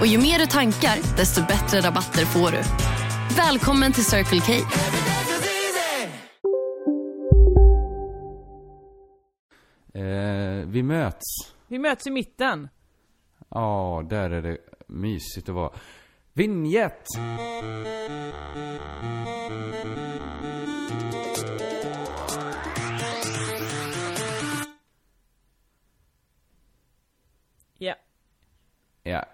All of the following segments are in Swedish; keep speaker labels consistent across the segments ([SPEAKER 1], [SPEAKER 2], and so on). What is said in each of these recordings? [SPEAKER 1] Och ju mer du tankar, desto bättre rabatter får du. Välkommen till Circle K.
[SPEAKER 2] Eh, vi möts.
[SPEAKER 3] Vi möts i mitten.
[SPEAKER 2] Ja, där är det mysigt att vara. Vinjett!
[SPEAKER 3] Ja.
[SPEAKER 2] Ja.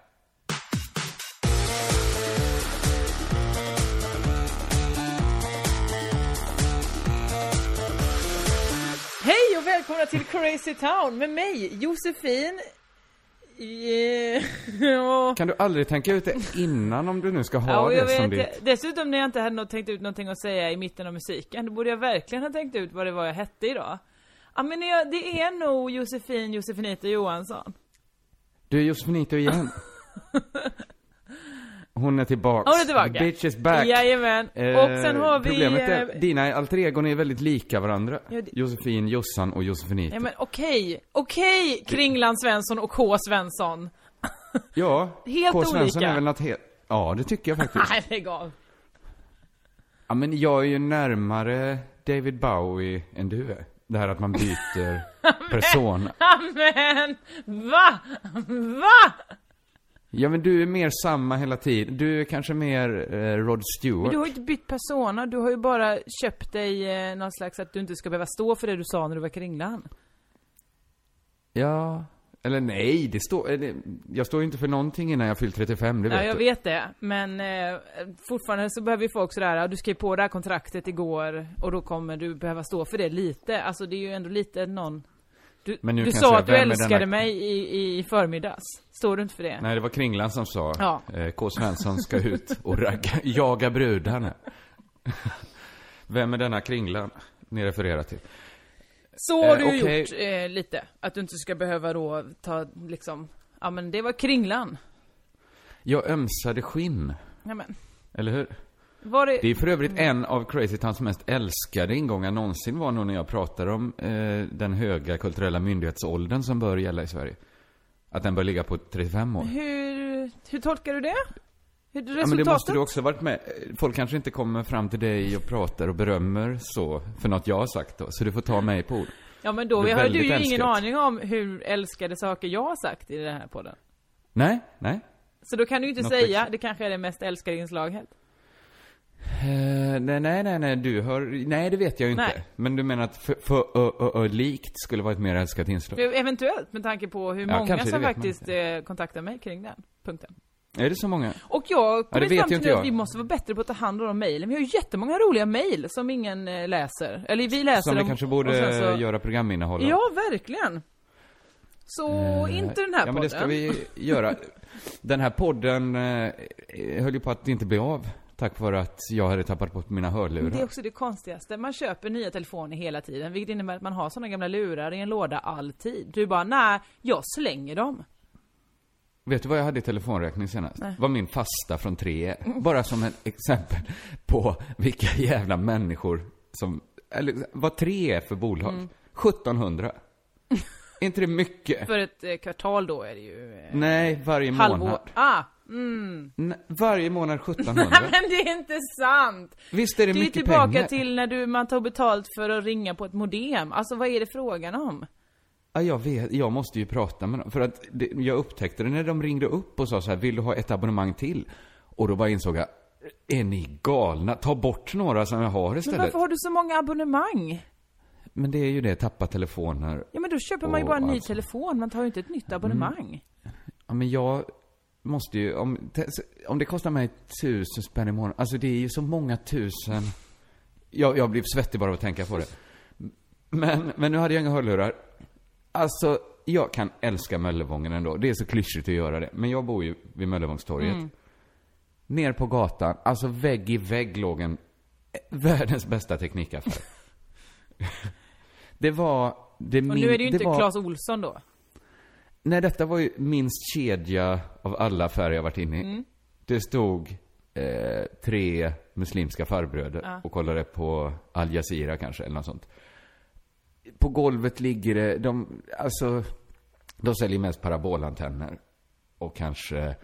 [SPEAKER 3] Hej och välkomna till Crazy Town med mig Josefin. Eh, och-
[SPEAKER 2] Kan du aldrig tänka ut det innan om du nu ska ha
[SPEAKER 3] Ja, och jag
[SPEAKER 2] det som
[SPEAKER 3] vet,
[SPEAKER 2] ditt...
[SPEAKER 3] dessutom när jag inte hade nå- tänkt ut någonting att säga i mitten av musiken, då borde jag verkligen ha tänkt ut vad det var jag hette idag. Ja men jag, det är nog Josefin Josefinita Johansson.
[SPEAKER 2] Du är Josefinito igen. Hon är tillbaks.
[SPEAKER 3] Hon är tillbaka.
[SPEAKER 2] The bitch is back.
[SPEAKER 3] Jajamän.
[SPEAKER 2] Eh,
[SPEAKER 3] och sen har vi...
[SPEAKER 2] Problemet är,
[SPEAKER 3] eh,
[SPEAKER 2] dina alter egon är väldigt lika varandra.
[SPEAKER 3] Ja, det-
[SPEAKER 2] Josefin, Jossan och Josefinito.
[SPEAKER 3] Ja men okej, okej Kringland Svensson och K Svensson.
[SPEAKER 2] Ja,
[SPEAKER 3] Helt
[SPEAKER 2] K. Svensson
[SPEAKER 3] olika.
[SPEAKER 2] är väl något helt... Ja, det tycker jag faktiskt.
[SPEAKER 3] Nej lägg av.
[SPEAKER 2] Ja, men jag är ju närmare David Bowie än du är. Det här att man byter person.
[SPEAKER 3] Men va? Va?
[SPEAKER 2] Ja, men du är mer samma hela tiden. Du är kanske mer eh, Rod Stewart.
[SPEAKER 3] Du har ju inte bytt persona, du har ju bara köpt dig eh, någon slags att du inte ska behöva stå för det du sa när du var Kringlan.
[SPEAKER 2] Ja. Eller nej, det står... Eller, jag står ju inte för någonting innan jag fyllt 35, det vet
[SPEAKER 3] Ja, jag
[SPEAKER 2] du.
[SPEAKER 3] vet det. Men eh, fortfarande så behöver ju folk sådär, ja, du skrev på det här kontraktet igår och då kommer du behöva stå för det lite. Alltså det är ju ändå lite någon... Du,
[SPEAKER 2] Men nu
[SPEAKER 3] du
[SPEAKER 2] kan
[SPEAKER 3] sa
[SPEAKER 2] jag säga,
[SPEAKER 3] att du
[SPEAKER 2] vem är
[SPEAKER 3] älskade
[SPEAKER 2] denna-
[SPEAKER 3] mig i, i förmiddags. Står du inte för det?
[SPEAKER 2] Nej, det var Kringlan som sa
[SPEAKER 3] Ja.
[SPEAKER 2] eh, K. Svensson ska ut och ragga, jaga brudarna. Vem är denna Kringlan? Ni refererar till.
[SPEAKER 3] Så har
[SPEAKER 2] Eh,
[SPEAKER 3] du ju
[SPEAKER 2] okej.
[SPEAKER 3] gjort eh, lite. Att du inte ska behöva då ta liksom, ja men det var Kringlan.
[SPEAKER 2] Jag ömsade skinn.
[SPEAKER 3] Ja, men.
[SPEAKER 2] Eller hur?
[SPEAKER 3] Var det...
[SPEAKER 2] Det är för övrigt
[SPEAKER 3] Mm.
[SPEAKER 2] en av Crazy Towns mest älskade ingångar någonsin var nog när jag pratade om eh, den höga kulturella myndighetsåldern som bör gälla i Sverige. Att den bör ligga på 35 år.
[SPEAKER 3] Hur, hur tolkar du det?
[SPEAKER 2] Ja,
[SPEAKER 3] Hur, resultatet?
[SPEAKER 2] men det måste du också ha varit med. Eh, Folk kanske inte kommer fram till dig och pratar och berömmer så för något jag har sagt då. Så du får ta mig på ord.
[SPEAKER 3] Ja men då
[SPEAKER 2] Det är
[SPEAKER 3] har du
[SPEAKER 2] väldigt
[SPEAKER 3] ju ingen
[SPEAKER 2] älskat.
[SPEAKER 3] aning om hur älskade saker jag har sagt i den här podden.
[SPEAKER 2] Nej, nej.
[SPEAKER 3] Så då kan du ju inte
[SPEAKER 2] Något liksom.
[SPEAKER 3] säga,
[SPEAKER 2] extra.
[SPEAKER 3] det kanske är det mest älskade inslaget.
[SPEAKER 2] Eh, nej, nej, nej, nej, du har... Nej, det vet jag ju inte.
[SPEAKER 3] Nej.
[SPEAKER 2] Men du menar att för, för, ö, ö, ö, likt skulle vara ett mer älskat inslag?
[SPEAKER 3] För Eventuellt med tanke på hur
[SPEAKER 2] Ja,
[SPEAKER 3] många
[SPEAKER 2] kanske, det
[SPEAKER 3] som
[SPEAKER 2] vet man
[SPEAKER 3] faktiskt
[SPEAKER 2] inte.
[SPEAKER 3] eh, kontaktar mig kring den punkten.
[SPEAKER 2] Är det så många?
[SPEAKER 3] Och jag
[SPEAKER 2] det
[SPEAKER 3] kommer
[SPEAKER 2] vet
[SPEAKER 3] fram
[SPEAKER 2] ju
[SPEAKER 3] till
[SPEAKER 2] inte
[SPEAKER 3] nu
[SPEAKER 2] jag.
[SPEAKER 3] att vi måste vara bättre på att ta hand om de mejlen. Vi har ju jättemånga roliga mejl som ingen eh, läser. Eller vi läser
[SPEAKER 2] Som vi
[SPEAKER 3] dem
[SPEAKER 2] kanske
[SPEAKER 3] och
[SPEAKER 2] borde
[SPEAKER 3] sen
[SPEAKER 2] göra programinnehåll av.
[SPEAKER 3] Ja, verkligen. Så
[SPEAKER 2] Eh,
[SPEAKER 3] inte den
[SPEAKER 2] Ja
[SPEAKER 3] här podden.
[SPEAKER 2] men det ska vi göra. Den här podden eh, höll ju på att inte bli av. Tack vare att jag hade tappat bort mina hörlurar.
[SPEAKER 3] Det är också det konstigaste. Man köper nya telefoner hela tiden, vilket innebär att man har såna gamla lurar i en låda alltid. Du bara, nej, jag slänger dem.
[SPEAKER 2] Vet du vad jag hade i telefonräkning senast?
[SPEAKER 3] Nej.
[SPEAKER 2] var min fasta från 3 Bara som ett exempel på vilka jävla människor som... Eller vad 3 är för bolag.
[SPEAKER 3] Mm.
[SPEAKER 2] 1700. Är inte det mycket?
[SPEAKER 3] För ett eh, kvartal då är det ju eh,
[SPEAKER 2] Nej, varje månad.
[SPEAKER 3] halvår. Ah,
[SPEAKER 2] Nej, varje månad 1700.
[SPEAKER 3] nej men det är inte sant!
[SPEAKER 2] Visst är det,
[SPEAKER 3] Du är
[SPEAKER 2] mycket
[SPEAKER 3] tillbaka
[SPEAKER 2] pengar?
[SPEAKER 3] till när du, man tar betalt för att ringa på ett modem. Alltså vad är det frågan om?
[SPEAKER 2] Ja, jag vet. Jag måste ju prata med dem. För att det, jag upptäckte det när de ringde upp och sa så här, vill du ha ett abonnemang till? Och då bara insåg jag, är ni galna? Ta bort några som jag har
[SPEAKER 3] Men
[SPEAKER 2] istället. Men,
[SPEAKER 3] varför har du så många abonnemang?
[SPEAKER 2] det är ju det, tappa telefoner.
[SPEAKER 3] Ja men då köper man ju bara en
[SPEAKER 2] Åh,
[SPEAKER 3] ny
[SPEAKER 2] alltså. Mm.
[SPEAKER 3] telefon, man tar ju inte ett nytt abonnemang.
[SPEAKER 2] Ja, men jag måste ju, om, te- om det kostar mig tusen spänn i månaden, alltså det är ju så många tusen. Jag, jag blir svettig bara av att tänka på det. Men, men nu hade jag inga hörlurar. Alltså, jag kan
[SPEAKER 3] Mm.
[SPEAKER 2] älska Möllevången ändå. Det är så klyschigt att göra det. Men jag bor ju vid Möllevångstorget. ner på gatan, alltså vägg i vägg låg en eh, världens bästa teknikaffär. det var... Det
[SPEAKER 3] Och
[SPEAKER 2] min-
[SPEAKER 3] nu är det ju inte
[SPEAKER 2] var,
[SPEAKER 3] Claes Olsson då.
[SPEAKER 2] Nej, detta var ju minst kedja av alla affärer jag varit inne i.
[SPEAKER 3] Mm.
[SPEAKER 2] Det stod eh, tre muslimska farbröder och kollade på Al Jazeera kanske, eller något sånt. På golvet ligger det, de, alltså, de säljer mest parabolantenner. Och kanske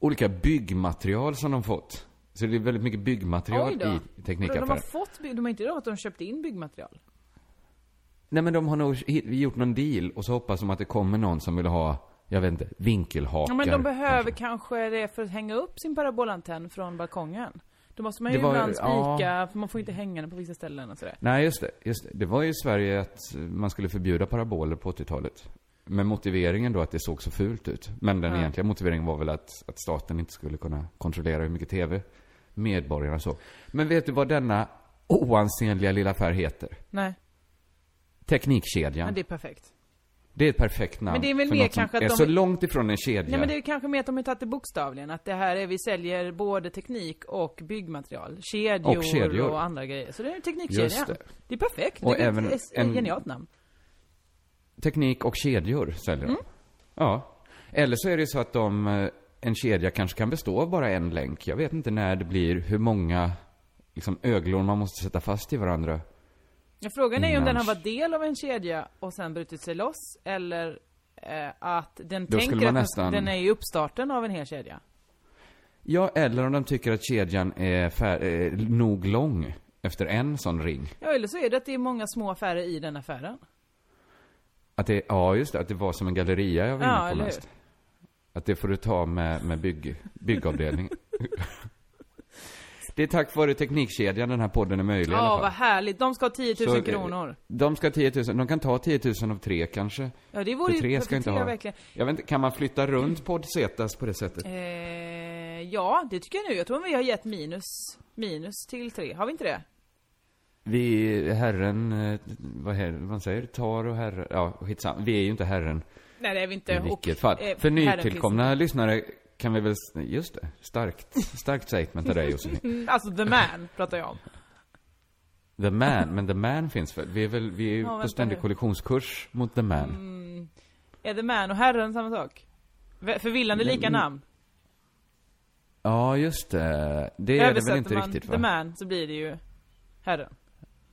[SPEAKER 2] olika byggmaterial som de fått. Så det är väldigt mycket byggmaterial
[SPEAKER 3] Oj
[SPEAKER 2] i
[SPEAKER 3] då. Vadå, De har
[SPEAKER 2] teknikaffären.
[SPEAKER 3] fått, by- de har inte då att de köpte in byggmaterial.
[SPEAKER 2] Nej men de har nog hi- gjort någon deal och så hoppas de att det kommer någon som vill ha, jag vet inte, vinkelhakar.
[SPEAKER 3] Ja, men de behöver kanske det för att hänga upp sin parabolantenn från balkongen. Då måste man ju
[SPEAKER 2] Det var-
[SPEAKER 3] ibland
[SPEAKER 2] ja.
[SPEAKER 3] spika, för man får inte hänga den på vissa ställen och sådär.
[SPEAKER 2] Nej, just det. Just det. det var ju i Sverige att eh, man skulle förbjuda paraboler på 80-talet. Med motiveringen då att det såg så fult ut. Men den
[SPEAKER 3] Ja.
[SPEAKER 2] egentliga motiveringen var väl att, att staten inte skulle kunna kontrollera hur mycket tv medborgarna såg. Men vet du vad denna oansenliga lilla affär heter?
[SPEAKER 3] Nej,
[SPEAKER 2] Teknikkedjan.
[SPEAKER 3] men
[SPEAKER 2] det...
[SPEAKER 3] det är perfekt.
[SPEAKER 2] är ett perfekt namn.
[SPEAKER 3] Men det är väl
[SPEAKER 2] för
[SPEAKER 3] mer
[SPEAKER 2] något som
[SPEAKER 3] kanske att
[SPEAKER 2] är
[SPEAKER 3] de-
[SPEAKER 2] så långt ifrån en kedja.
[SPEAKER 3] Nej men det är kanske mer att de har tagit det bokstavligen, att det här är, vi säljer både teknik och byggmaterial. Kedjor och,
[SPEAKER 2] Och kedjor.
[SPEAKER 3] andra grejer. Så det är en teknikkedja.
[SPEAKER 2] Just det.
[SPEAKER 3] det är perfekt.
[SPEAKER 2] Och
[SPEAKER 3] det är
[SPEAKER 2] även
[SPEAKER 3] ett, ett
[SPEAKER 2] en-
[SPEAKER 3] genialt namn.
[SPEAKER 2] Teknik och kedjor säljer
[SPEAKER 3] Mm.
[SPEAKER 2] de. Ja. Eller så är det ju så att de, eh, en kedja kanske kan bestå av bara en länk. Jag vet inte när det blir, hur många liksom, öglor man måste sätta fast i varandra.
[SPEAKER 3] Ja, Frågan är ju om den har
[SPEAKER 2] Innan-
[SPEAKER 3] varit del av en kedja och sen brutit sig loss eller eh, att den
[SPEAKER 2] Då
[SPEAKER 3] tänker
[SPEAKER 2] skulle man
[SPEAKER 3] att den-
[SPEAKER 2] nästan-
[SPEAKER 3] den är i uppstarten av en hel kedja.
[SPEAKER 2] Ja, eller om de tycker att kedjan är fär- eh, nog lång efter en sån ring.
[SPEAKER 3] Ja, eller så är det att det är många små affärer i den affären.
[SPEAKER 2] Att det, ja, just det, att det var som en galleria jag var
[SPEAKER 3] Ja,
[SPEAKER 2] inne
[SPEAKER 3] eller
[SPEAKER 2] på
[SPEAKER 3] hur?
[SPEAKER 2] mest. Att det får du ta med, med bygg, byggavdelningen. det är tack vare teknikkedjan den här podden är möjlig i alla
[SPEAKER 3] Ja,
[SPEAKER 2] fall.
[SPEAKER 3] vad härligt. De ska ha 10 000
[SPEAKER 2] Så, eh,
[SPEAKER 3] kronor.
[SPEAKER 2] De ska ha 10 000, de kan ta 10 000 av tre kanske.
[SPEAKER 3] Ja, det vore
[SPEAKER 2] För
[SPEAKER 3] ju...
[SPEAKER 2] tre
[SPEAKER 3] för
[SPEAKER 2] ska inte
[SPEAKER 3] tre
[SPEAKER 2] ha.
[SPEAKER 3] Verkligen.
[SPEAKER 2] Jag vet inte, kan man flytta runt Podsetas på det sättet?
[SPEAKER 3] Eh, ja, det tycker jag nu. Jag tror vi har gett minus, minus till tre. Har vi inte det?
[SPEAKER 2] Vi, herren, eh, vad, her, vad säger du? Tar och herre, ja skitsamma. Vi är ju inte herren
[SPEAKER 3] Nej, det är vi inte.
[SPEAKER 2] i vilket fall.
[SPEAKER 3] eh,
[SPEAKER 2] För
[SPEAKER 3] herren finns-
[SPEAKER 2] nytillkomna lyssnare kan vi väl, s- just det, starkt, starkt statement av dig Josefin.
[SPEAKER 3] Mm, Alltså, the man pratar jag om.
[SPEAKER 2] The man, men the man finns väl? Vi är väl, vi är ju
[SPEAKER 3] Ja, vänta
[SPEAKER 2] på ständig
[SPEAKER 3] nu. Mm.
[SPEAKER 2] kollisionskurs mot the man.
[SPEAKER 3] Är the man och herren samma sak? Vä- Förvillande lika namn.
[SPEAKER 2] Ja, just det. Det är det väl
[SPEAKER 3] Översätter
[SPEAKER 2] inte
[SPEAKER 3] man
[SPEAKER 2] riktigt
[SPEAKER 3] the
[SPEAKER 2] va?
[SPEAKER 3] man så blir det ju herren.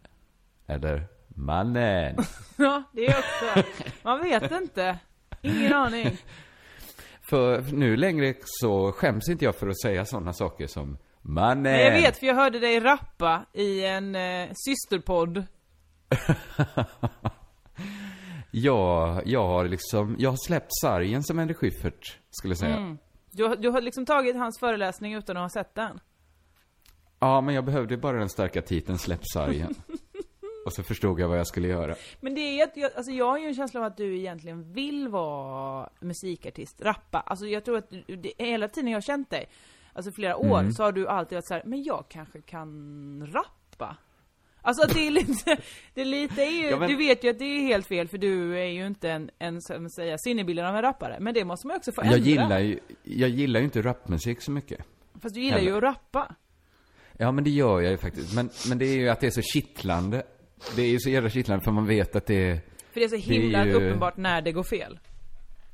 [SPEAKER 2] Eller, mannen.
[SPEAKER 3] Ja, det är också. Man vet inte. Ingen aning.
[SPEAKER 2] För nu längre så skäms inte jag för att säga sådana saker som mannen.
[SPEAKER 3] Nej, jag vet för jag hörde dig rappa i en eh, systerpodd.
[SPEAKER 2] Jag, jag har liksom, jag har släppt sargen som Henrik Schyffert skulle säga.
[SPEAKER 3] Mm. Du, har- du har liksom tagit hans föreläsning utan att ha sett den.
[SPEAKER 2] Ja, men jag behövde bara den starka titeln släpp sargen. Och så förstod jag vad jag skulle göra.
[SPEAKER 3] Men det är att, jag, alltså jag har ju en känsla av att du egentligen vill vara musikartist, rappa. Alltså jag tror att, du- det, hela tiden jag har känt dig, alltså flera år,
[SPEAKER 2] Mm.
[SPEAKER 3] så har du alltid varit så här, men jag kanske kan rappa. Alltså att det är lite, det är lite är ju,
[SPEAKER 2] Ja, men-
[SPEAKER 3] du vet ju att det är helt fel för du är ju inte en, en som säger, sinnebilden av en rappare. Men det måste man ju också få ändra.
[SPEAKER 2] Jag gillar ju, jag gillar ju inte rapmusik så mycket.
[SPEAKER 3] Fast du gillar ju
[SPEAKER 2] Heller.
[SPEAKER 3] att rappa.
[SPEAKER 2] Ja, men det gör jag ju faktiskt. Men, men det är ju att det är så kittlande. Det är ju så jävla kittlande för man vet att det är,
[SPEAKER 3] För det är så
[SPEAKER 2] är
[SPEAKER 3] himla
[SPEAKER 2] ju-
[SPEAKER 3] uppenbart när det går fel.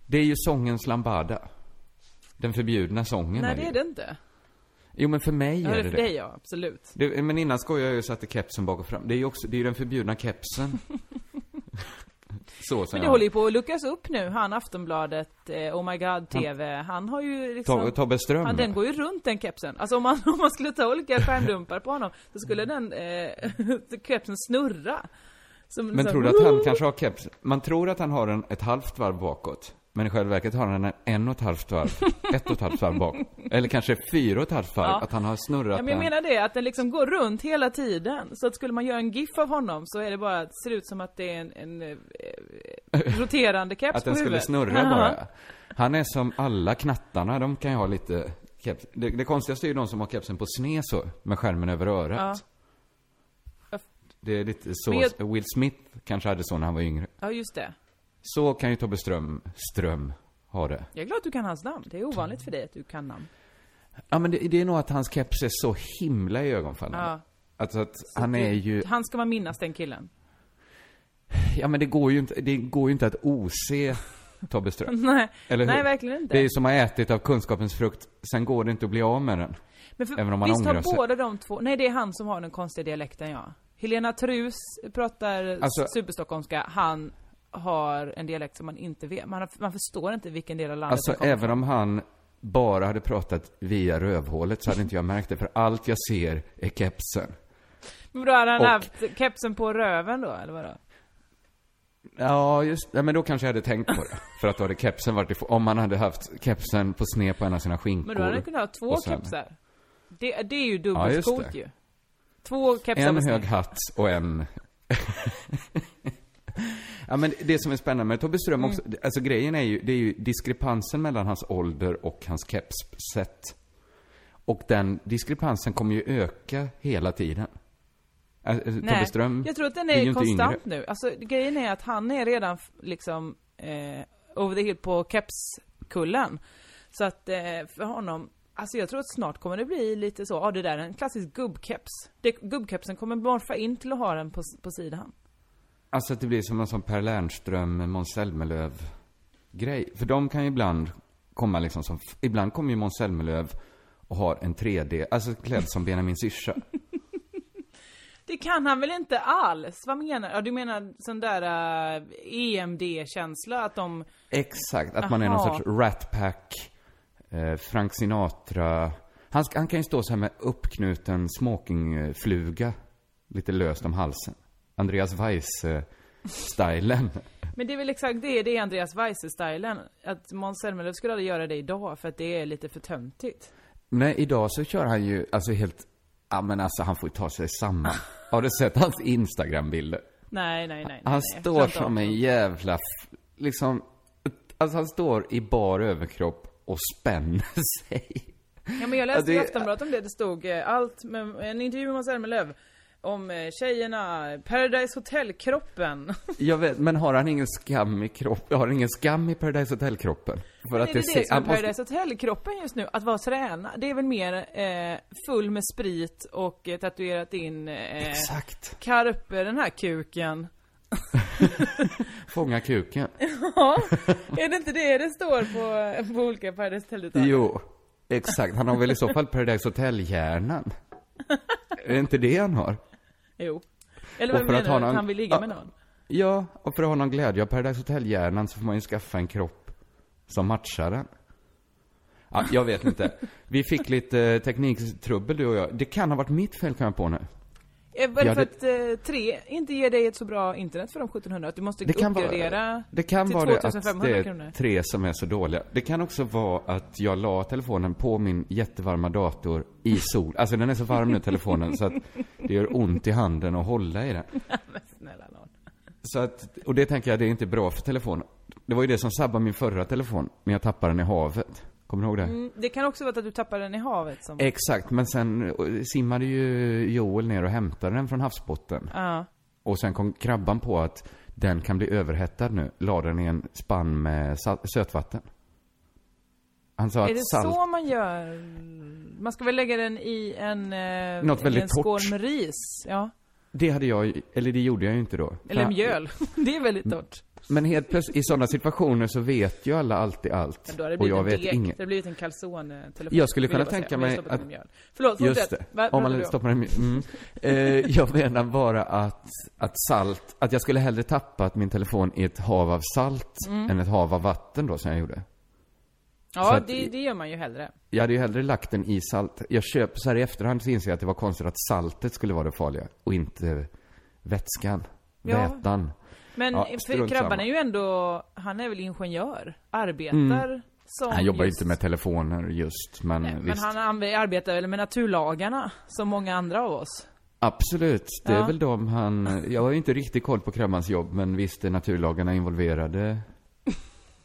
[SPEAKER 2] det är ju sångens lambada. Den förbjudna sången
[SPEAKER 3] Nej
[SPEAKER 2] är
[SPEAKER 3] det är
[SPEAKER 2] ju-
[SPEAKER 3] det inte.
[SPEAKER 2] Jo, men för mig
[SPEAKER 3] Ja,
[SPEAKER 2] är
[SPEAKER 3] det
[SPEAKER 2] det
[SPEAKER 3] är för
[SPEAKER 2] det.
[SPEAKER 3] dig ja, absolut.
[SPEAKER 2] Det, men innan skojade jag ju och satte kepsen bak och fram. Det är ju också, det är ju den förbjudna kepsen. så som
[SPEAKER 3] Men det
[SPEAKER 2] jag-
[SPEAKER 3] håller ju på att luckas upp nu, han Aftonbladet, eh, Oh My
[SPEAKER 2] Mm.
[SPEAKER 3] God TV, han, har ju liksom...
[SPEAKER 2] To- Tobbe Ström.
[SPEAKER 3] han, den går ju runt den kepsen. Alltså om man, om man skulle ta olika skärmdumpar på honom, så skulle
[SPEAKER 2] Mm.
[SPEAKER 3] den eh, kepsen snurra. Som,
[SPEAKER 2] Men
[SPEAKER 3] som-
[SPEAKER 2] tror du att han kanske har keps? Man tror att han har en, ett halvt varv bakåt. Men i själva verket har han en, en och ett halvt varv, ett och ett halvt varv bak. Eller kanske fyra och ett halvt varv,
[SPEAKER 3] Ja.
[SPEAKER 2] att han har snurrat
[SPEAKER 3] Ja, men jag menar det, att den liksom går runt hela tiden. Så att skulle man göra en GIF av honom så är det bara, ser det ut som att det är en, en eh, eh, roterande keps
[SPEAKER 2] att
[SPEAKER 3] på
[SPEAKER 2] den skulle
[SPEAKER 3] huvudet.
[SPEAKER 2] snurra bara. Han är som alla knattarna, de kan ju ha lite keps. Det, det konstigaste är ju de som har kepsen på sne så, med skärmen över örat.
[SPEAKER 3] Ja.
[SPEAKER 2] Det är lite så,
[SPEAKER 3] Men jag-
[SPEAKER 2] Will Smith kanske hade så när han var yngre.
[SPEAKER 3] Ja, just det.
[SPEAKER 2] Så kan ju Tobbe Ström, Ström ha det.
[SPEAKER 3] Jag är glad att du kan hans namn. Det är ovanligt för dig att du kan namn.
[SPEAKER 2] Ja, men det, det är nog att hans keps är så himla i ögonfallande.
[SPEAKER 3] Ja.
[SPEAKER 2] Alltså att han är ju,
[SPEAKER 3] Han ska man minnas den killen.
[SPEAKER 2] ja men det går ju inte, det går ju inte att ose Tobbe Ström.
[SPEAKER 3] Nej,
[SPEAKER 2] Eller
[SPEAKER 3] nej
[SPEAKER 2] hur?
[SPEAKER 3] verkligen inte.
[SPEAKER 2] Det är ju som att ha ätit av kunskapens frukt, sen går det inte att bli av med den.
[SPEAKER 3] Men för,
[SPEAKER 2] Även om man
[SPEAKER 3] visst
[SPEAKER 2] ångrar sig.
[SPEAKER 3] har båda de två, nej det är han som har den konstiga dialekten ja. Helena Trus pratar
[SPEAKER 2] Alltså-
[SPEAKER 3] superstockholmska, han har en dialekt som man inte vet, man, har, man förstår inte vilken del av landet
[SPEAKER 2] Alltså
[SPEAKER 3] han kommer
[SPEAKER 2] även
[SPEAKER 3] från.
[SPEAKER 2] om han bara hade pratat via rövhålet så hade inte jag märkt det, för allt jag ser är kepsen.
[SPEAKER 3] Men då har han
[SPEAKER 2] och-
[SPEAKER 3] haft kepsen på röven då, eller vadå?
[SPEAKER 2] Ja, just ja, men då kanske jag hade tänkt på det. För att då hade kepsen varit i, om han hade haft kepsen på sned på en av sina skinkor.
[SPEAKER 3] Men då hade han kunnat ha två
[SPEAKER 2] och sen-
[SPEAKER 3] kepsar. Det, det är ju
[SPEAKER 2] Ja, just
[SPEAKER 3] dubbelcoolt
[SPEAKER 2] det.
[SPEAKER 3] ju. Två kepsar
[SPEAKER 2] En
[SPEAKER 3] med
[SPEAKER 2] hög
[SPEAKER 3] sned.
[SPEAKER 2] hatt och en... ja, men det som är spännande med Tobbe Ström också,
[SPEAKER 3] Mm.
[SPEAKER 2] alltså grejen är ju, det är ju diskrepansen mellan hans ålder och hans kepssätt. Och den diskrepansen kommer ju öka hela tiden. Alltså, Tobbe
[SPEAKER 3] Nej,
[SPEAKER 2] Ström
[SPEAKER 3] jag tror att den
[SPEAKER 2] blir ju
[SPEAKER 3] är
[SPEAKER 2] inte
[SPEAKER 3] konstant
[SPEAKER 2] yngre.
[SPEAKER 3] nu. Alltså grejen är att han är redan f- liksom eh, over the hill på kepskullen. Så att eh, för honom, alltså jag tror att snart kommer det bli lite så, ja ah, det där är en klassisk gubbkeps. Det, gubbkepsen kommer morfa in till att ha den på, s- på sidan.
[SPEAKER 2] Alltså att det blir som en sån Per Lernström, Måns Zelmerlöw grej. För de kan ju ibland komma liksom som, ibland kommer ju Måns Zelmerlöw och har en 3D, alltså klädd som Benjamin Syrsa.
[SPEAKER 3] Det kan han väl inte alls? Vad menar du? Ja, du menar sån där eh, EMD-känsla att de...
[SPEAKER 2] Exakt, att man är
[SPEAKER 3] Aha.
[SPEAKER 2] någon sorts Rat Pack, eh, Frank Sinatra. Han, ska- han kan ju stå så här med uppknuten smokingfluga, lite löst om halsen. Andreas eh, Weise-stylen.
[SPEAKER 3] Men det är väl exakt det, det är Andreas Weise-stylen. Att Måns Zelmerlöw skulle aldrig göra det idag för att det är lite för töntigt.
[SPEAKER 2] Nej, idag så kör han ju, alltså helt, ja men alltså han får ju ta sig samman. Har du sett hans Instagram-bilder?
[SPEAKER 3] Nej, nej, nej. nej,
[SPEAKER 2] Han
[SPEAKER 3] nej, jag klarar
[SPEAKER 2] står
[SPEAKER 3] inte av
[SPEAKER 2] som
[SPEAKER 3] det.
[SPEAKER 2] en jävla, f- liksom, alltså han står i bar överkropp och spänner sig.
[SPEAKER 3] Ja, men jag läste
[SPEAKER 2] Ja, det-
[SPEAKER 3] i Aftonbladet om det, det stod eh, allt, med, en intervju med Måns Zelmerlöw. Om eh, tjejerna, Paradise Hotel-kroppen.
[SPEAKER 2] Jag vet, men har han ingen skam i kroppen? Har han ingen skam i Paradise Hotel-kroppen? För
[SPEAKER 3] Det är det,
[SPEAKER 2] ser-
[SPEAKER 3] som är
[SPEAKER 2] han måste-
[SPEAKER 3] Paradise Hotel-kroppen just nu, att vara tränare. Det är väl mer eh, full med sprit och eh, tatuerat in eh,
[SPEAKER 2] Exakt.
[SPEAKER 3] karpe, den här kuken.
[SPEAKER 2] Fånga kuken.
[SPEAKER 3] Ja, är det inte det det står på, på olika Paradise Hotel-detaljer?
[SPEAKER 2] Jo, exakt. Han har väl i så fall Paradise Hotel-hjärnan. Är det inte det han har?
[SPEAKER 3] Jo. Eller
[SPEAKER 2] Och
[SPEAKER 3] vad
[SPEAKER 2] för
[SPEAKER 3] menar
[SPEAKER 2] att
[SPEAKER 3] du?
[SPEAKER 2] ha någon-
[SPEAKER 3] Att han vill ligga
[SPEAKER 2] Ja.
[SPEAKER 3] med någon?
[SPEAKER 2] Ja, och för att ha någon glädje av Paradise Hotel-hjärnan så får man ju skaffa en kropp som matchar den. Ja, jag vet inte. Vi fick lite eh, tekniktrubbel du och jag. Det kan ha varit mitt fel kan jag på nu.
[SPEAKER 3] Eh, Var det
[SPEAKER 2] Ja,
[SPEAKER 3] för
[SPEAKER 2] det-
[SPEAKER 3] att eh, tre inte ger dig ett så bra internet för de 1700? Att du måste
[SPEAKER 2] Det kan
[SPEAKER 3] uppgradera
[SPEAKER 2] vara, det, kan
[SPEAKER 3] till
[SPEAKER 2] vara det att
[SPEAKER 3] 2500
[SPEAKER 2] det
[SPEAKER 3] kronor?
[SPEAKER 2] är tre som är så dåliga. Det kan också vara att jag la telefonen på min jättevarma dator i sol. Alltså den är så varm nu telefonen så att det gör ont i handen att hålla i den.
[SPEAKER 3] Snälla nån.
[SPEAKER 2] Så att, och det tänker jag, det är inte bra för telefonen. Det var ju det som sabbade min förra telefon, men jag tappade den i havet. Kommer du ihåg det?
[SPEAKER 3] Mm, det kan också vara att du tappar den i havet som...
[SPEAKER 2] Exakt, men sen eh, simmade ju Joel ner och hämtade den från havsbotten.
[SPEAKER 3] Ja.
[SPEAKER 2] Och sen kom krabban på att den kan bli överhettad nu. La den i en spann med sa- sötvatten. Han sa
[SPEAKER 3] Är
[SPEAKER 2] att
[SPEAKER 3] det
[SPEAKER 2] salt...
[SPEAKER 3] så man gör? Man ska väl lägga den i en... eh,
[SPEAKER 2] Något
[SPEAKER 3] i
[SPEAKER 2] väldigt
[SPEAKER 3] en skål
[SPEAKER 2] torrt.
[SPEAKER 3] med ris? Ja.
[SPEAKER 2] Det hade jag, eller det gjorde jag ju inte då.
[SPEAKER 3] Eller
[SPEAKER 2] För-
[SPEAKER 3] mjöl. det är väldigt
[SPEAKER 2] Mm.
[SPEAKER 3] torrt.
[SPEAKER 2] Men helt plötsligt, i sådana situationer så vet ju alla alltid allt.
[SPEAKER 3] Men då har det
[SPEAKER 2] och
[SPEAKER 3] blivit
[SPEAKER 2] jag
[SPEAKER 3] en
[SPEAKER 2] vet
[SPEAKER 3] deg.
[SPEAKER 2] inget.
[SPEAKER 3] Det har blivit en calzone-telefon.
[SPEAKER 2] Jag skulle
[SPEAKER 3] vill
[SPEAKER 2] kunna
[SPEAKER 3] bara säga,
[SPEAKER 2] tänka
[SPEAKER 3] om jag
[SPEAKER 2] mig
[SPEAKER 3] stoppat den
[SPEAKER 2] att-
[SPEAKER 3] i mjöl. Förlåt,
[SPEAKER 2] Just
[SPEAKER 3] fortsätt.
[SPEAKER 2] det.
[SPEAKER 3] Vad-
[SPEAKER 2] Om
[SPEAKER 3] vad
[SPEAKER 2] man
[SPEAKER 3] var
[SPEAKER 2] stoppar en... Mm. Eh, jag menar bara att, att salt, att jag skulle hellre tappat min telefon i ett hav av salt
[SPEAKER 3] Mm.
[SPEAKER 2] än ett hav av vatten då som jag gjorde. så
[SPEAKER 3] Ja,
[SPEAKER 2] att-
[SPEAKER 3] det, det gör man ju hellre.
[SPEAKER 2] Jag hade ju hellre lagt den i salt. Jag köper, så här i efterhand så inser jag att det var konstigt att saltet skulle vara det farliga och inte vätskan.
[SPEAKER 3] Ja.
[SPEAKER 2] Vätan.
[SPEAKER 3] Men
[SPEAKER 2] Ja,
[SPEAKER 3] för
[SPEAKER 2] strunt
[SPEAKER 3] krabban
[SPEAKER 2] samma.
[SPEAKER 3] är ju ändå, han är väl ingenjör? Arbetar som
[SPEAKER 2] Mm. Han jobbar ju
[SPEAKER 3] just-
[SPEAKER 2] inte med telefoner just, men
[SPEAKER 3] Nej,
[SPEAKER 2] visst.
[SPEAKER 3] Men han anv- arbetar väl med naturlagarna, som många andra av oss?
[SPEAKER 2] Absolut, det
[SPEAKER 3] Ja.
[SPEAKER 2] är väl de han... Jag har ju inte riktigt koll på krabbans jobb, men visst är naturlagarna involverade.